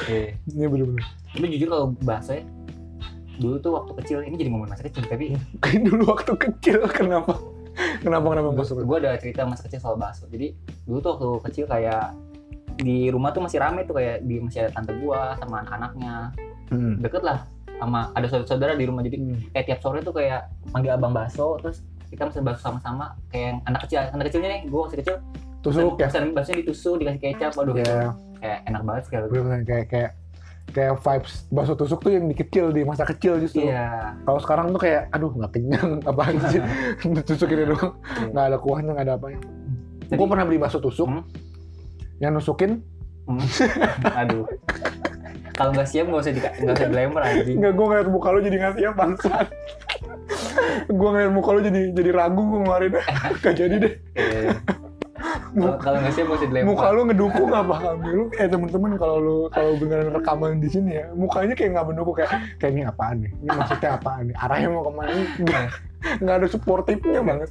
Speaker 1: Iya.
Speaker 2: Iya bener-bener.
Speaker 1: tapi jujur kalau bakso ya dulu tuh waktu kecil ini jadi momen masa kecil tapi
Speaker 2: Kayak dulu waktu kecil kenapa? Kenapa kenapa
Speaker 1: Gua-
Speaker 2: Bos?
Speaker 1: gua ada cerita masa kecil soal bakso jadi dulu tuh waktu kecil kayak di rumah tuh masih rame tuh kayak di masih ada tante gua sama anak-anaknya
Speaker 2: Hmm.
Speaker 1: deket lah sama ada saudara-saudara di rumah jadi kayak tiap sore tuh kayak manggil abang bakso terus kita mesen bakso sama-sama kayak yang anak kecil anak kecilnya nih gua waktu kecil
Speaker 2: tusuk ya
Speaker 1: pesan bahasanya ditusuk dikasih kecap aduh
Speaker 2: ya
Speaker 1: kayak enak banget gitu. sekali
Speaker 2: gue bener, kayak kayak kayak vibes bakso tusuk tuh yang dikecil di masa kecil justru
Speaker 1: iya
Speaker 2: kalau sekarang tuh kayak aduh nggak kenyang apaan sih tusuk ini doang nggak ada kuahnya nggak ada apanya
Speaker 1: Jadi-
Speaker 2: gue pernah beli bakso tusuk
Speaker 1: Hmm?
Speaker 2: yang nusukin
Speaker 1: Hmm. aduh kalau nggak siap nggak usah di nggak usah dilempar anjing
Speaker 2: nggak gue ngeliat muka lo jadi nggak siap bangsat gue ngeliat muka lo jadi jadi ragu gue ngeluarin gak jadi deh
Speaker 1: Iya.
Speaker 2: Oh,
Speaker 1: Kalau- kalau nggak siap nggak usah dilempar
Speaker 2: muka lu ngedukung apa kami lu eh temen-temen kalau lu kalau beneran rekaman di sini ya mukanya kayak nggak mendukung kayak kayak ini apaan nih ini maksudnya apaan nih arahnya mau kemana Ini nggak
Speaker 1: Nah.
Speaker 2: nggak ada supportifnya banget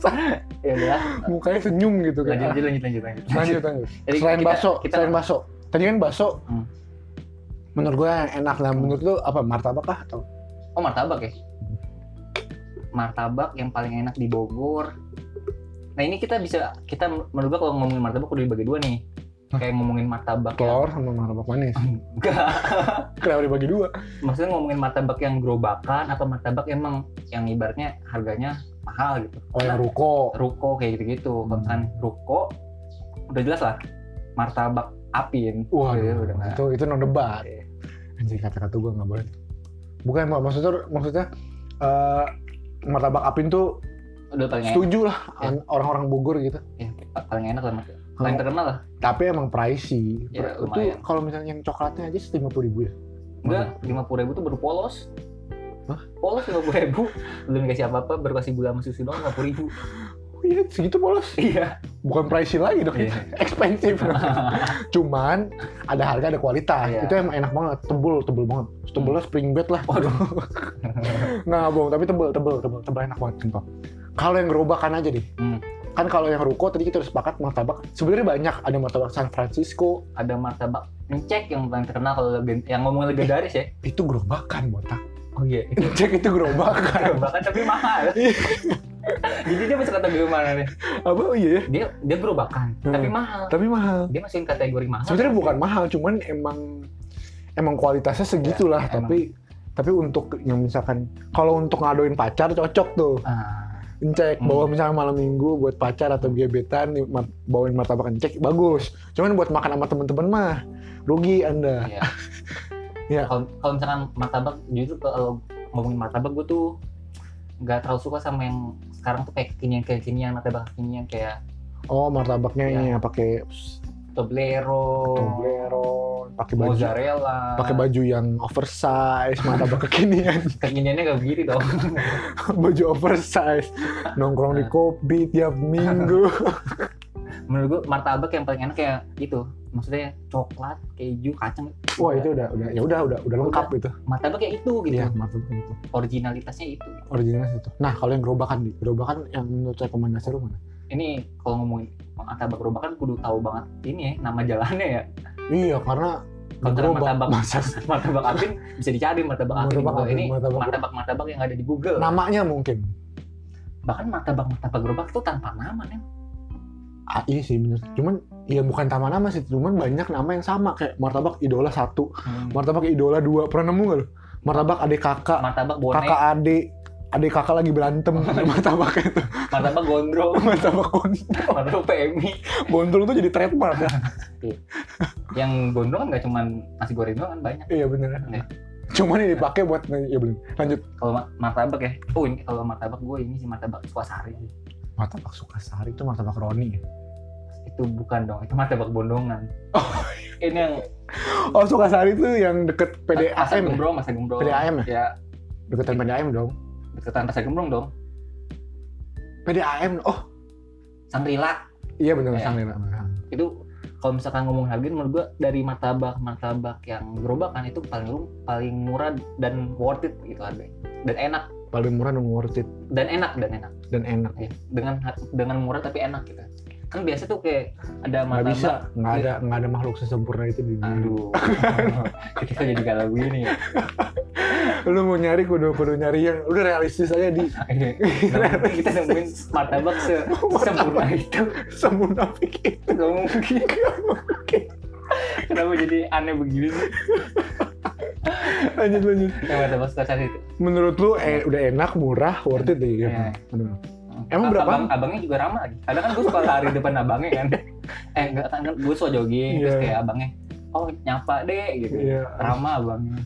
Speaker 1: ya udah
Speaker 2: mukanya senyum gitu
Speaker 1: lanjut
Speaker 2: kayak
Speaker 1: lanjut lanjut lanjut lanjut
Speaker 2: lanjut lanjut
Speaker 1: Jadi
Speaker 2: selain
Speaker 1: kita-
Speaker 2: bakso
Speaker 1: kita-
Speaker 2: selain bakso tadi kan bakso
Speaker 1: Hmm.
Speaker 2: menurut gue yang enak lah menurut lu apa martabak kah atau
Speaker 1: oh martabak ya martabak yang paling enak di Bogor nah ini kita bisa kita menurut gua kalau ngomongin martabak udah dibagi dua nih kayak ngomongin martabak yang-
Speaker 2: telur sama martabak manis
Speaker 1: Hmm. enggak
Speaker 2: kenapa dibagi dua
Speaker 1: maksudnya ngomongin martabak yang gerobakan atau martabak emang yang ibaratnya harganya mahal gitu
Speaker 2: oh yang ruko
Speaker 1: ruko kayak gitu-gitu bahkan ruko udah jelas lah martabak apin
Speaker 2: wah
Speaker 1: Iya, udah nggak-
Speaker 2: itu itu non debat Anjir kata-kata gue nggak boleh. Bukan mak- maksudnya maksudnya eh, martabak apin tuh
Speaker 1: udah paling enak
Speaker 2: setuju lah an- orang-orang Bogor gitu.
Speaker 1: ya, paling enak lah martabak paling terkenal lah
Speaker 2: Tapi emang pricey.
Speaker 1: Ya,
Speaker 2: Itu
Speaker 1: lumayan.
Speaker 2: kalau misalnya yang coklatnya aja lima puluh ribu ya.
Speaker 1: enggak lima puluh ribu tuh baru polos
Speaker 2: Hah?
Speaker 1: polos lima puluh ribu belum dikasih apa apa baru kasih gula sama susu doang lima puluh ribu
Speaker 2: Oh Iya segitu polos.
Speaker 1: iya
Speaker 2: Bukan pricey lagi dong.
Speaker 1: Iya.
Speaker 2: Expensive. Cuman ada harga ada kualitas.
Speaker 1: Iya. Hmm.
Speaker 2: Itu emang enak banget. Tebul tebul banget. Tebulnya spring bed lah.
Speaker 1: Waduh.
Speaker 2: nah bohong tapi tebel tebel tebel tebel enak banget sumpah. Kalau yang gerobakan aja deh.
Speaker 1: Hmm.
Speaker 2: Kan kalau yang ruko tadi kita udah sepakat martabak. Sebenarnya banyak ada martabak San Francisco
Speaker 1: ada martabak encek yang paling terkenal kalau legen- yang ngomong legendaris ya
Speaker 2: itu gerobakan botak.
Speaker 1: oh iya
Speaker 2: Cek itu gerobakan.
Speaker 1: bahkan tapi mahal
Speaker 2: Iya.
Speaker 1: jadi dia masuk kategori mana nih
Speaker 2: Apa oh iya? ya?
Speaker 1: dia dia berobakan
Speaker 2: Hmm.
Speaker 1: tapi mahal
Speaker 2: Tapi mahal.
Speaker 1: dia masukin kategori mahal
Speaker 2: Sebenarnya bukan mahal, cuman emang emang kualitasnya segitulah.
Speaker 1: Ya, emang.
Speaker 2: tapi tapi untuk yang misalkan kalau untuk ngadoin pacar cocok tuh.
Speaker 1: Ah,
Speaker 2: Encek
Speaker 1: Hmm.
Speaker 2: bawa misalnya malam minggu buat pacar atau gebetan di- ma- bawain martabak encek bagus. Cuman buat makan sama temen-temen mah rugi Anda.
Speaker 1: iya.
Speaker 2: Iya.
Speaker 1: Kalau kalau misalkan martabak jujur kalau ngomongin martabak gue tuh nggak terlalu suka sama yang sekarang tuh kayak kekinian kekinian martabak kekinian kayak
Speaker 2: Oh, martabaknya
Speaker 1: Iya.
Speaker 2: ini ya pakai
Speaker 1: Toblero,
Speaker 2: toblerone, pakai baju
Speaker 1: mozzarella,
Speaker 2: pakai baju yang oversize, martabak kekinian.
Speaker 1: kekiniannya nggak begini dong.
Speaker 2: baju oversize nongkrong di kopi tiap minggu
Speaker 1: Menurut gue martabak yang paling enak kayak itu, maksudnya coklat, keju, kacang.
Speaker 2: wah itu udah udah ya udah udah udah lengkap itu
Speaker 1: martabak kayak itu gitu.
Speaker 2: iya mantap itu
Speaker 1: Originalitasnya itu.
Speaker 2: original itu nah kalau yang gerobakan di gerobakan yang menurut rekomendasi lu mana
Speaker 1: Ini kalau ngomongin martabak gerobakan kudu tahu banget ini ya nama jalannya ya.
Speaker 2: iya karena
Speaker 1: Kalau cara
Speaker 2: gerobak
Speaker 1: martabak-
Speaker 2: masa
Speaker 1: martabak apin bisa dicari martabak apin di
Speaker 2: Martabak
Speaker 1: Google.
Speaker 2: apin,
Speaker 1: ini
Speaker 2: martabak. Nah.
Speaker 1: martabak martabak yang ada di Google
Speaker 2: namanya mungkin
Speaker 1: bahkan martabak martabak gerobak tuh tanpa nama nih
Speaker 2: ah, iya sih bener cuman ya bukan nama nama sih cuman banyak nama yang sama kayak martabak idola satu martabak idola dua pernah nemu nggak lu martabak adik kakak
Speaker 1: martabak bonek
Speaker 2: kakak adik adik kakak lagi berantem martabak itu
Speaker 1: martabak gondrong
Speaker 2: martabak kon-
Speaker 1: martabak PMI
Speaker 2: gondrong tuh jadi trademark ya
Speaker 1: yang gondrong kan nggak cuman nasi goreng doang kan banyak
Speaker 2: Iya bener.
Speaker 1: Iya.
Speaker 2: Cuman ini dipakai buat ya belum. Lanjut.
Speaker 1: kalau ma- martabak ya oh ini kalau martabak gue ini sih martabak suasari sih.
Speaker 2: Martabak Sukasari itu martabak Roni ya.
Speaker 1: itu bukan dong itu martabak bondongan
Speaker 2: Oh.
Speaker 1: ini yang
Speaker 2: Oh Sukasari itu yang deket
Speaker 1: pasar
Speaker 2: PDAM ya?
Speaker 1: gembrong pasar gembrong
Speaker 2: PDAM ya?
Speaker 1: ya
Speaker 2: Deketan PDAM dong.
Speaker 1: deketan pasar gembrong dong
Speaker 2: PDAM. Oh
Speaker 1: sangrila
Speaker 2: iya
Speaker 1: Iya.
Speaker 2: bener sang Lira. Bener.
Speaker 1: itu kalau misalkan ngomong harga menurut gua dari martabak martabak yang gerobakan itu paling lu- paling murah dan worth it gitu harganya dan enak
Speaker 2: Paling murah dan worth it
Speaker 1: dan enak dan enak
Speaker 2: dan enak.
Speaker 1: ya. dengan har- dengan murah tapi enak gitu kan biasa tuh kayak ada
Speaker 2: Nggak
Speaker 1: martabak
Speaker 2: bisa. Nggak ada nggak ada makhluk sesempurna itu di dunia.
Speaker 1: aduh kita jadi galau gini ya
Speaker 2: Lu mau nyari kudu kudu nyari yang udah realistis aja di
Speaker 1: Nah, kita nemuin martabak se sempurna itu
Speaker 2: semuna pikir.
Speaker 1: nggak mungkin kenapa jadi aneh begini sih
Speaker 2: Lanjut lanjut.
Speaker 1: Yang martabak sekasar itu
Speaker 2: Menurut lu eh, udah enak, murah, worth it ya?
Speaker 1: Iya.
Speaker 2: Bener. Emang berapa?
Speaker 1: Abang, abangnya juga ramah lagi. Kadang kan gue suka lari depan abangnya kan. eh enggak kan kan gue suka jogging terus
Speaker 2: Iya.
Speaker 1: kayak abangnya oh nyapa deh gitu
Speaker 2: Iya.
Speaker 1: ramah abangnya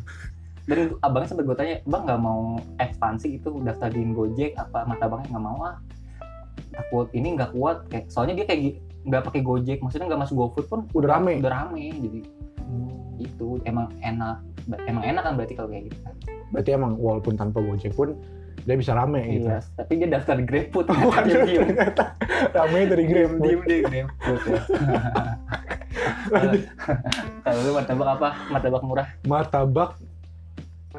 Speaker 1: dan abangnya sempet gue tanya bang nggak mau ekspansi gitu daftar di Gojek apa mata abangnya nggak mau ah takut ini nggak kuat kayak soalnya dia kayak gi- nggak pakai Gojek maksudnya nggak masuk GoFood pun
Speaker 2: Udah rame. Hmm.
Speaker 1: udah rame jadi itu emang enak Ba- emang enak kan berarti kalau kayak gitu kan
Speaker 2: Berarti emang walaupun tanpa Gojek pun dia bisa rame gitu.
Speaker 1: Iya, tapi dia daftar GrabFood kan
Speaker 2: Waduh,
Speaker 1: diem
Speaker 2: ternyata rame dari Grab.
Speaker 1: diem deh GrabFood ya Kalau- kalau lu martabak apa martabak murah
Speaker 2: Martabak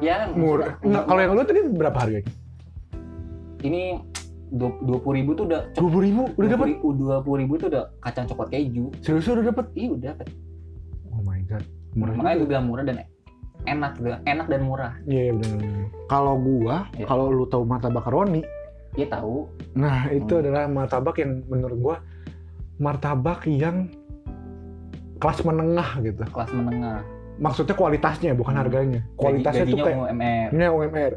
Speaker 1: ya
Speaker 2: murah. Nah, kalau yang lu tadi berapa harganya?
Speaker 1: ini dua puluh ribu tuh udah
Speaker 2: Dua puluh ribu udah dapat.
Speaker 1: dua puluh ribu tuh udah kacang coklat keju
Speaker 2: Serius udah dapat?
Speaker 1: iya udah dapet.
Speaker 2: Oh my god. Murah
Speaker 1: makanya
Speaker 2: juga.
Speaker 1: gue bilang murah dan enak gue bilang enak dan murah
Speaker 2: Iya iya, benar. benar. Kalau gua,
Speaker 1: Iya.
Speaker 2: kalau lu tahu martabak Roni,
Speaker 1: dia tahu
Speaker 2: nah itu
Speaker 1: Hmm.
Speaker 2: adalah martabak yang menurut gua martabak yang kelas menengah gitu.
Speaker 1: kelas menengah
Speaker 2: Maksudnya kualitasnya bukan
Speaker 1: Hmm.
Speaker 2: harganya. Kualitasnya
Speaker 1: Gaji-
Speaker 2: tuh kayak
Speaker 1: gajinya UMR
Speaker 2: ini UMR.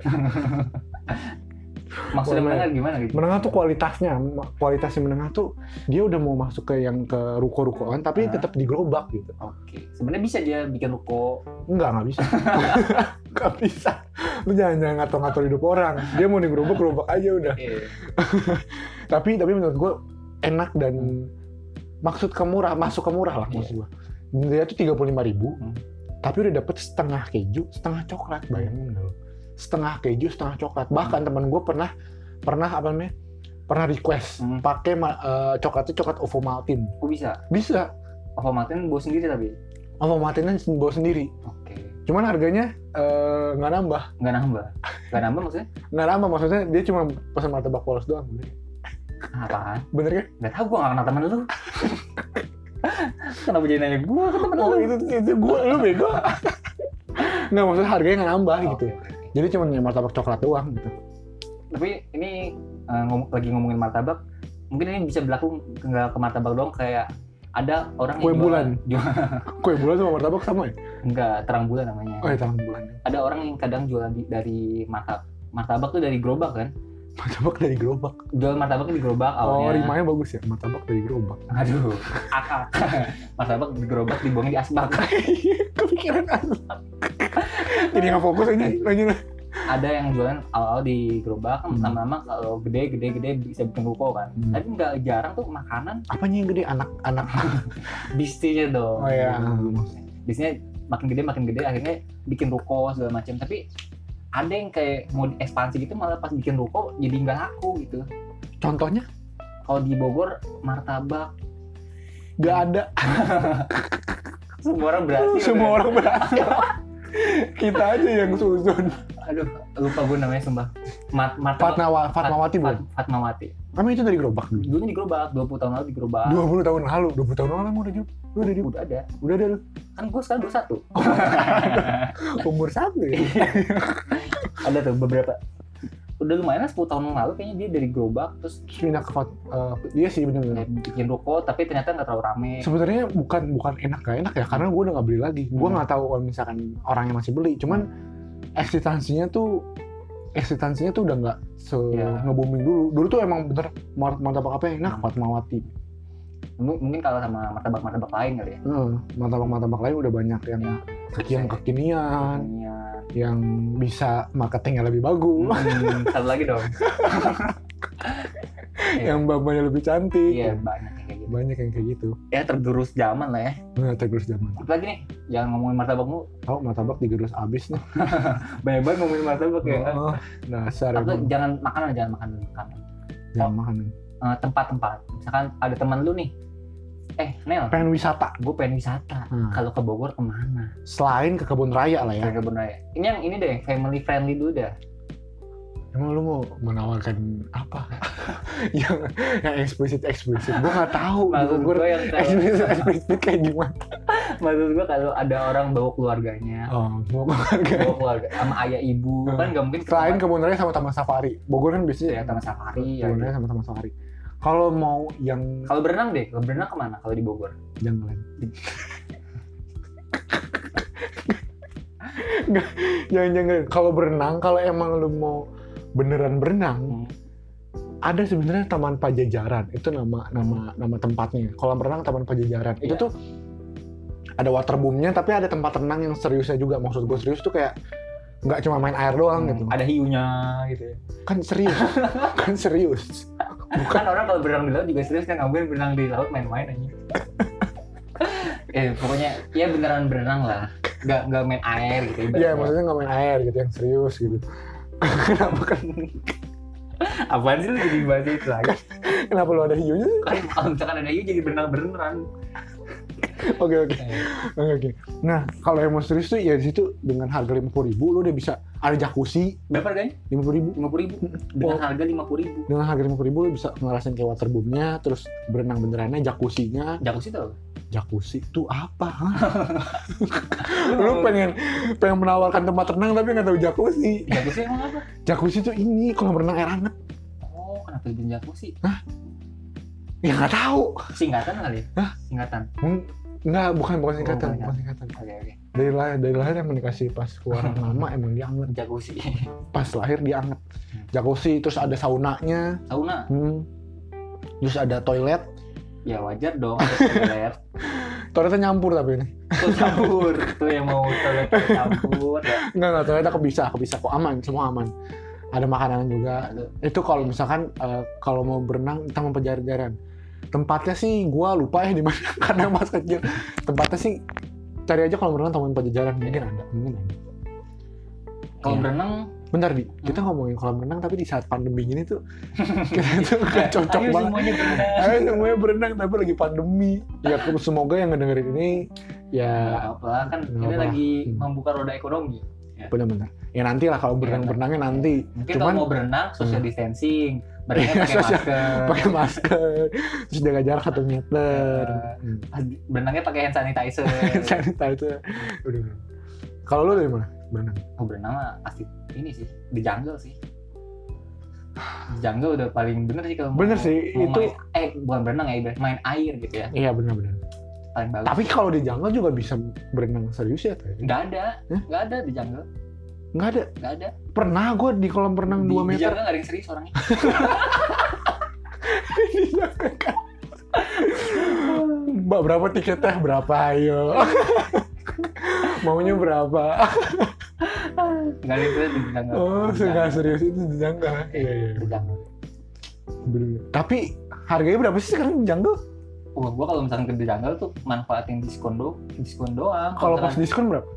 Speaker 1: maksudnya
Speaker 2: UMR.
Speaker 1: menengah gimana gitu
Speaker 2: Menengah tuh kualitasnya, ma- kualitas yang menengah tuh dia udah mau masuk ke yang ke ruko-rukoan tapi
Speaker 1: Hah?
Speaker 2: tetap di gerobak gitu.
Speaker 1: oke sebenarnya bisa dia bikin ruko
Speaker 2: Enggak, nggak bisa. Nggak bisa. Lu jangan-jangan ngatur-ngatur hidup orang. Dia mau di gerobak, gerobak aja udah.
Speaker 1: Iya.
Speaker 2: tapi tapi menurut gue enak dan maksud ke murah masuk ke murah lah
Speaker 1: Hmm. Iya.
Speaker 2: maksud gue dia tuh tiga ribu
Speaker 1: Hmm.
Speaker 2: tapi udah dapet setengah keju setengah coklat
Speaker 1: Hmm.
Speaker 2: bayangin nggak lo? setengah keju setengah coklat bahkan teman gue pernah pernah apa namanya pernah request
Speaker 1: Hmm.
Speaker 2: pakai ma- eh, coklatnya coklat ovo maltin
Speaker 1: aku bisa
Speaker 2: bisa
Speaker 1: Papa Martin bawa sendiri tapi
Speaker 2: ovo maltinnya bawa sendiri
Speaker 1: oke
Speaker 2: cuman harganya eh, nggak nambah
Speaker 1: nggak nambah nggak nambah maksudnya
Speaker 2: nggak nambah maksudnya dia cuma pesan martabak polos doang bener,
Speaker 1: Ah, apaan
Speaker 2: bener kan
Speaker 1: nggak tahu gue nggak kenal temen lu kenapa jadi nanya gue ke temen lu
Speaker 2: Oh itu itu gue lu bego. Nggak maksudnya harganya nggak nambah
Speaker 1: Oke,
Speaker 2: gitu.
Speaker 1: oke.
Speaker 2: Jadi cuma yang martabak coklat doang gitu.
Speaker 1: tapi ini eh, ngom- lagi ngomongin martabak mungkin ini bisa berlaku ke- nggak ke martabak doang kayak ada orang
Speaker 2: Kue
Speaker 1: jualan-
Speaker 2: bulan.
Speaker 1: jual-
Speaker 2: Kue bulan sama martabak sama ya?
Speaker 1: nggak terang bulan namanya
Speaker 2: Oh ya terang bulan.
Speaker 1: ada orang yang kadang jual di- dari martabak martabak tuh dari gerobak kan
Speaker 2: Martabak dari gerobak.
Speaker 1: jual martabaknya di gerobak awalnya
Speaker 2: Oh rimanya bagus ya. Martabak dari gerobak.
Speaker 1: aduh akak martabak di gerobak dibuangnya di asbak
Speaker 2: Kepikiran aku. Jadi nggak fokus aja nanya.
Speaker 1: ada yang jualan awal-awal di gerobak kan
Speaker 2: Hmm.
Speaker 1: lama-lama kalau gede gede gede bisa bikin ruko kan
Speaker 2: Hmm.
Speaker 1: tapi nggak jarang tuh makanan
Speaker 2: Apanya yang gede anak-anak?
Speaker 1: bisnisnya dong
Speaker 2: Oh ya.
Speaker 1: bisnisnya makin gede makin gede akhirnya bikin ruko segala macam tapi ada yang kayak mau ekspansi gitu malah pas bikin ruko jadi nggak laku gitu
Speaker 2: Contohnya
Speaker 1: kalau di Bogor martabak
Speaker 2: nggak ada.
Speaker 1: semua orang berhasil
Speaker 2: Semua orang berhasil. Kita aja yang susun.
Speaker 1: aduh lupa gue namanya sumpah Mart martabak
Speaker 2: Fatnawa, Fatmawati bukan?
Speaker 1: Fat- Fatmawati
Speaker 2: Emang itu dari gerobak dulu.
Speaker 1: dulunya di gerobak 20 tahun lalu di gerobak
Speaker 2: 20 tahun lalu, 20 tahun lalu emang udah di lu udah di
Speaker 1: udah ada
Speaker 2: udah ada lu.
Speaker 1: kan gue sekarang 21
Speaker 2: umur satu ya.
Speaker 1: ada tuh beberapa udah lumayan lah 10 tahun yang lalu kayaknya dia dari gerobak terus
Speaker 2: Terus pindah ke fat- eh, iya sih bener-bener.
Speaker 1: kayak bikin ruko tapi ternyata nggak terlalu rame
Speaker 2: Sebenarnya bukan bukan enak gak enak ya karena gue udah nggak beli lagi. Gue
Speaker 1: Hmm.
Speaker 2: nggak tahu kalau misalkan orangnya masih beli. Cuman eksitansinya tuh eksitansinya tuh udah nggak se
Speaker 1: Iya.
Speaker 2: nge-booming dulu. Dulu tuh emang bener mar- martabak apa yang enak
Speaker 1: Hmm.
Speaker 2: Fatmawati.
Speaker 1: M- mungkin kalau sama martabak martabak lain kali ya
Speaker 2: Heeh, martabak-martabak lain udah banyak yang
Speaker 1: Iya.
Speaker 2: kekinian kekinian
Speaker 1: Iya.
Speaker 2: yang bisa marketingnya lebih bagus,
Speaker 1: Hmm, satu lagi dong iya.
Speaker 2: yang bambanya lebih cantik.
Speaker 1: iya banyak yang kayak gitu
Speaker 2: Banyak yang kayak gitu.
Speaker 1: ya tergerus zaman lah ya
Speaker 2: Nah, tergerus zaman.
Speaker 1: apalagi nih jangan ngomongin martabak mulu
Speaker 2: Tahu martabak digerus abis nih.
Speaker 1: banyak banget ngomongin martabak ya kan
Speaker 2: Oh, dasar
Speaker 1: Apalagi
Speaker 2: emang.
Speaker 1: jangan makanan jangan makanan makanan
Speaker 2: Jangan makan.
Speaker 1: Eh, tempat-tempat misalkan ada teman lu nih eh Nel
Speaker 2: pengen wisata
Speaker 1: gue pengen wisata
Speaker 2: Hmm.
Speaker 1: kalau ke Bogor kemana
Speaker 2: selain ke kebun raya lah ya
Speaker 1: ke kebun raya ini yang ini deh family friendly dulu dah
Speaker 2: emang lu mau menawarkan apa yang yang eksplisit eksplisit gua nggak tahu
Speaker 1: maksud
Speaker 2: gua
Speaker 1: gue yang kalau-
Speaker 2: eksplisit eksplisit kayak gimana
Speaker 1: maksud gue kalau ada orang bawa keluarganya
Speaker 2: oh mau keluarga
Speaker 1: bawa keluarga sama ayah ibu
Speaker 2: Hmm.
Speaker 1: kan gak mungkin ke
Speaker 2: selain
Speaker 1: tempat-
Speaker 2: kebun raya sama taman safari Bogor kan
Speaker 1: ya
Speaker 2: biasanya
Speaker 1: taman safari ya
Speaker 2: kebun raya sama taman safari kalau mau yang
Speaker 1: kalau berenang deh kalau berenang kemana kalau di Bogor
Speaker 2: jangan jangan jangan kalau berenang kalau emang lu mau beneran berenang
Speaker 1: Hmm.
Speaker 2: ada sebenarnya Taman Pajajaran itu nama nama nama tempatnya kolam renang Taman Pajajaran itu
Speaker 1: Iya.
Speaker 2: tuh ada waterboomnya tapi ada tempat renang yang seriusnya juga maksud gue serius tuh kayak nggak cuma main air doang gitu
Speaker 1: ada hiunya gitu ya.
Speaker 2: kan serius kan serius
Speaker 1: kan orang kalau berenang di laut juga serius kan nggak mungkin berenang di laut main-main aja eh pokoknya ya beneran berenang lah nggak nggak main air gitu
Speaker 2: Iya maksudnya nggak main air gitu yang serius gitu kenapa kan
Speaker 1: apaan sih lu jadi bahas itu lagi
Speaker 2: kenapa lo ada hiunya sih?
Speaker 1: kan kalau misalkan ada hiu jadi berenang beneran
Speaker 2: oke oke oke oke nah kalau yang mau serius tuh ya di situ dengan harga lima puluh ribu lo udah bisa ada jacuzzi
Speaker 1: berapa harganya
Speaker 2: lima puluh ribu
Speaker 1: lima puluh ribu dengan
Speaker 2: Oh.
Speaker 1: harga lima puluh ribu
Speaker 2: dengan harga lima puluh ribu lo bisa ngerasain kayak waterboomnya terus berenang benerannya jacuzzinya
Speaker 1: jacuzzi tau
Speaker 2: jacuzzi tuh apa Hah? lo pengen pengen menawarkan tempat renang tapi nggak tahu jacuzzi
Speaker 1: jacuzzi emang apa
Speaker 2: jacuzzi tuh ini kolam renang air hangat
Speaker 1: oh kenapa dibilang jacuzzi
Speaker 2: ya nggak tahu
Speaker 1: singkatan kali ya
Speaker 2: Hah?
Speaker 1: singkatan
Speaker 2: Hmm, nggak bukan bukan singkatan
Speaker 1: bukan.
Speaker 2: bukan singkatan
Speaker 1: oke oke
Speaker 2: dari lahir dari lahir emang dikasih pas keluar nama emang dia anget
Speaker 1: jacuzzi
Speaker 2: pas lahir dia anget jacuzzi terus ada saunanya
Speaker 1: sauna
Speaker 2: hmm. terus ada toilet
Speaker 1: ya wajar dong ada toilet
Speaker 2: toiletnya nyampur tapi ini
Speaker 1: tuh campur tuh yang mau toilet campur ya
Speaker 2: nggak nggak toiletnya kebisa kebisa kok aman semua aman ada makanan juga
Speaker 1: Lalu,
Speaker 2: itu kalau misalkan eh, kalau mau berenang kita mau pejaran tempatnya sih gua lupa ya di mana karena mas kecil tempatnya sih cari aja kalau berenang taman pejajaran mungkin ada mungkin ada
Speaker 1: kalau
Speaker 2: Iya.
Speaker 1: berenang
Speaker 2: bentar di kita
Speaker 1: Hmm.
Speaker 2: ngomongin kolam renang tapi di saat pandemi gini tuh kita tuh gak Iya, cocok
Speaker 1: ya, ayo
Speaker 2: banget
Speaker 1: semuanya berenang
Speaker 2: Ayo semuanya berenang tapi lagi pandemi. Ya semoga yang ngedengerin ini
Speaker 1: Nggak
Speaker 2: ya
Speaker 1: apa kan
Speaker 2: Nggak
Speaker 1: ini
Speaker 2: apa.
Speaker 1: lagi
Speaker 2: Hmm.
Speaker 1: membuka roda ekonomi
Speaker 2: benar-benar. Ya nanti lah kalau berenang-berenangnya nanti
Speaker 1: mungkin
Speaker 2: Cuman-
Speaker 1: kalau mau berenang social distancing
Speaker 2: Iya,
Speaker 1: berenang pakai
Speaker 2: social-
Speaker 1: masker
Speaker 2: pakai masker, terus jaga jarak satu meter. Kan Hmm.
Speaker 1: berenangnya pakai hand sanitizer
Speaker 2: Sanitizer. Iya. Udah, udah. Kalau lu dari mana? Berenang.
Speaker 1: oh, berenang mah pasti ini sih di jungle sih di jungle udah paling bener sih kalau mau-
Speaker 2: Bener sih,
Speaker 1: mau
Speaker 2: itu-
Speaker 1: main, eh bukan berenang ya ibarat main air gitu ya
Speaker 2: Iya benar-benar.
Speaker 1: paling bagus
Speaker 2: Tapi kalau di jungle juga bisa berenang serius ya? Teh?
Speaker 1: nggak ada
Speaker 2: Hah?
Speaker 1: nggak ada di jungle
Speaker 2: Nggak ada.
Speaker 1: nggak ada
Speaker 2: Pernah gue di kolam renang
Speaker 1: Di-
Speaker 2: 2
Speaker 1: di
Speaker 2: meter.
Speaker 1: jungle nggak ada yang serius orangnya
Speaker 2: Mbak berapa tiketnya? Berapa ayo? Maunya berapa?
Speaker 1: nggak ada yang serius di jungle
Speaker 2: Oh,
Speaker 1: Di
Speaker 2: nggak
Speaker 1: jungle. Eh,
Speaker 2: serius itu di Jangga. Iya, iya.
Speaker 1: di jungle
Speaker 2: Bener. Tapi harganya berapa sih sekarang di Jangga?
Speaker 1: Wah, gua kalau misalkan ke The Jungle tuh manfaatin diskon do, diskon doang.
Speaker 2: Kalau pas diskon berapa?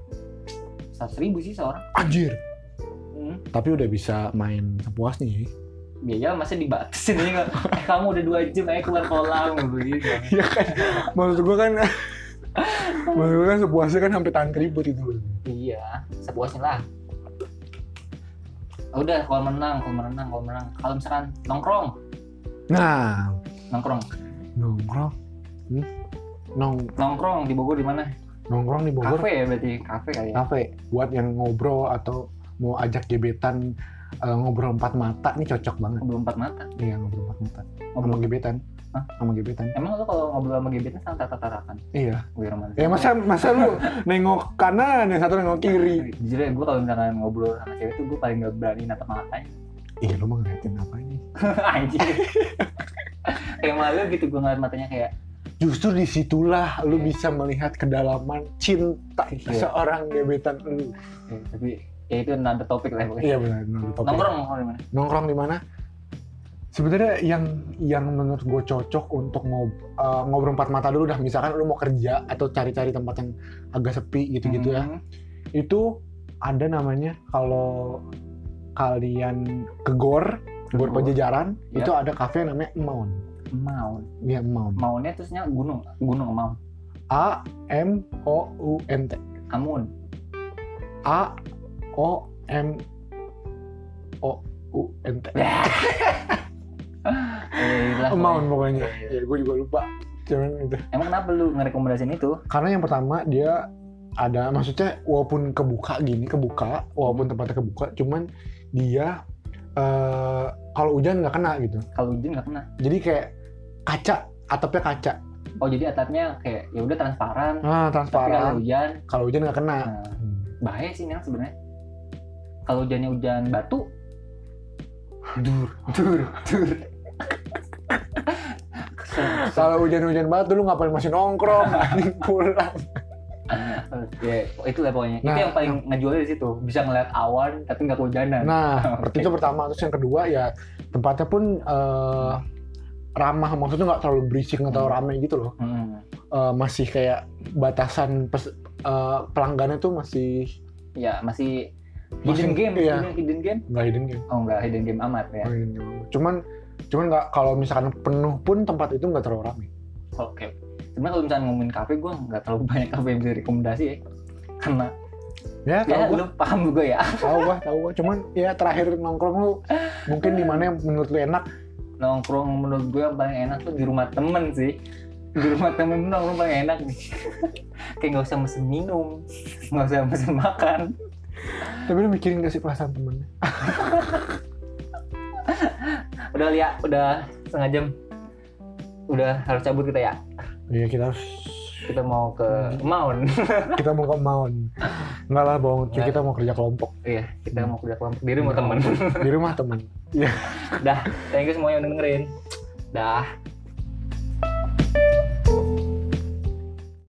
Speaker 1: seratus ribu sih seorang.
Speaker 2: Anjir.
Speaker 1: Hmm.
Speaker 2: Tapi udah bisa main sepuasnya ya.
Speaker 1: Biaya masa dibatasin aja nggak? Eh, kamu udah dua jam aja keluar kolam gitu. begitu.
Speaker 2: Iya kan. Maksud gua kan Maksud gua kan sepuasnya kan sampai tahan keribut itu.
Speaker 1: Iya, sepuasnya lah. Ya Udah, kalau menang, kalau menang, kalau menang. Kalau misalkan nongkrong,
Speaker 2: Nah,
Speaker 1: nongkrong,
Speaker 2: nongkrong. Hmm? Nong
Speaker 1: nongkrong di Bogor di mana?
Speaker 2: nongkrong di Bogor.
Speaker 1: Kafe ya berarti kafe kali ya.
Speaker 2: Kafe. Buat yang ngobrol atau mau ajak gebetan eh, ngobrol empat mata ini cocok banget.
Speaker 1: Ngobrol empat mata.
Speaker 2: Iya, ngobrol empat mata. Sama
Speaker 1: Ngobrol.
Speaker 2: gebetan.
Speaker 1: Hah?
Speaker 2: Sama gebetan.
Speaker 1: Emang lu kalau ngobrol sama gebetan sama tatap-tatapan?
Speaker 2: Iya.
Speaker 1: Gue romantis.
Speaker 2: Ya masa masa lu nengok kanan yang satu nengok kiri.
Speaker 1: Jujur ya, gue kalau misalkan ngobrol sama cewek tuh gue paling gak berani natap matanya.
Speaker 2: Iya lu mau ngeliatin apa ini?
Speaker 1: anjir kayak malu gitu gue ngeliat matanya kayak
Speaker 2: Justru disitulah lu bisa melihat kedalaman cinta
Speaker 1: Iya.
Speaker 2: seorang gebetan lu.
Speaker 1: eh, tapi ya itu another topik lah pokoknya
Speaker 2: Iya benar. Nongkrong
Speaker 1: nongkrong nongkrong di mana
Speaker 2: Nongkrong di mana? Sebenarnya yang yang menurut gue cocok untuk ngob- eh, ngobrol empat mata dulu dah. Misalkan lu mau kerja atau cari-cari tempat yang agak sepi gitu-gitu ya.
Speaker 1: Hmm,
Speaker 2: Itu ada namanya kalau kalian ke gor, gor Ya.
Speaker 1: Gor.
Speaker 2: Pajajaran,
Speaker 1: Iya.
Speaker 2: itu ada kafe yang namanya Maun.
Speaker 1: maun
Speaker 2: Iya, Maun.
Speaker 1: maunnya terusnya gunung gunung maun
Speaker 2: A M O U N T.
Speaker 1: amun
Speaker 2: A O M O U N
Speaker 1: Nah,
Speaker 2: T.
Speaker 1: eh, itulah
Speaker 2: Oh, Maun
Speaker 1: pokoknya.
Speaker 2: pokoknya.
Speaker 1: Iya,
Speaker 2: Ya gue juga lupa. Cuman itu.
Speaker 1: emang kenapa lu ngerekomendasiin itu
Speaker 2: Karena yang pertama dia ada maksudnya walaupun kebuka gini kebuka walaupun tempatnya kebuka cuman dia eh kalau hujan nggak kena gitu
Speaker 1: kalau hujan nggak kena
Speaker 2: jadi kayak kaca atapnya kaca
Speaker 1: oh jadi atapnya kayak ya udah transparan
Speaker 2: ah
Speaker 1: tapi kalau
Speaker 2: transparan Ah.
Speaker 1: hujan
Speaker 2: kalau hujan nggak kena
Speaker 1: nah, bahaya sih memang sebenarnya kalau hujannya hujan batu
Speaker 2: dur
Speaker 1: tur tur
Speaker 2: Kalau hujan-hujan banget dulu ngapain masih nongkrong, mending pulang.
Speaker 1: Oke, itu lah pokoknya. itu
Speaker 2: Nah,
Speaker 1: yang paling ngejualnya di situ. Bisa ngeliat awan tapi nggak kehujanan.
Speaker 2: Nah, itu pertama. Terus yang kedua ya tempatnya pun eh, ramah, maksudnya nggak terlalu berisik atau
Speaker 1: Hmm.
Speaker 2: rame gitu loh.
Speaker 1: Hmm.
Speaker 2: Eh, masih kayak batasan pes- eh, pelanggannya tuh masih
Speaker 1: Ya masih
Speaker 2: Masih-
Speaker 1: hidden game,
Speaker 2: iya.
Speaker 1: hidden, hidden game.
Speaker 2: nggak hidden game.
Speaker 1: Oh enggak hidden game amat ya.
Speaker 2: Nggak hidden game. Cuman cuman nggak kalau misalkan penuh pun tempat itu nggak terlalu rame.
Speaker 1: Oke. Sebenarnya kalau misalnya ngomongin kafe, gue nggak terlalu banyak kafe yang bisa rekomendasi ya. Karena
Speaker 2: Ya,
Speaker 1: ya
Speaker 2: tahu gua,
Speaker 1: lu paham juga ya.
Speaker 2: tahu gua, tahu gua. Cuman ya terakhir nongkrong lu mungkin di mana yang menurut lu enak
Speaker 1: Nongkrong menurut gue yang paling enak tuh di rumah temen sih. Di rumah temen tuh nongkrong paling enak nih. Kayak nggak usah mesen minum, nggak usah mesen makan.
Speaker 2: tapi lu mikirin gak sih perasaan temennya
Speaker 1: Udah lihat, udah setengah jam. Udah harus cabut kita ya.
Speaker 2: iya kita harus
Speaker 1: Kita mau ke Maun.
Speaker 2: kita mau ke Maun nggak lah bohong cuy
Speaker 1: Nggak.
Speaker 2: kita mau kerja kelompok
Speaker 1: Iya, kita mau kerja kelompok di rumah temen.
Speaker 2: di rumah teman
Speaker 1: Thank you semuanya udah dengerin. Dah.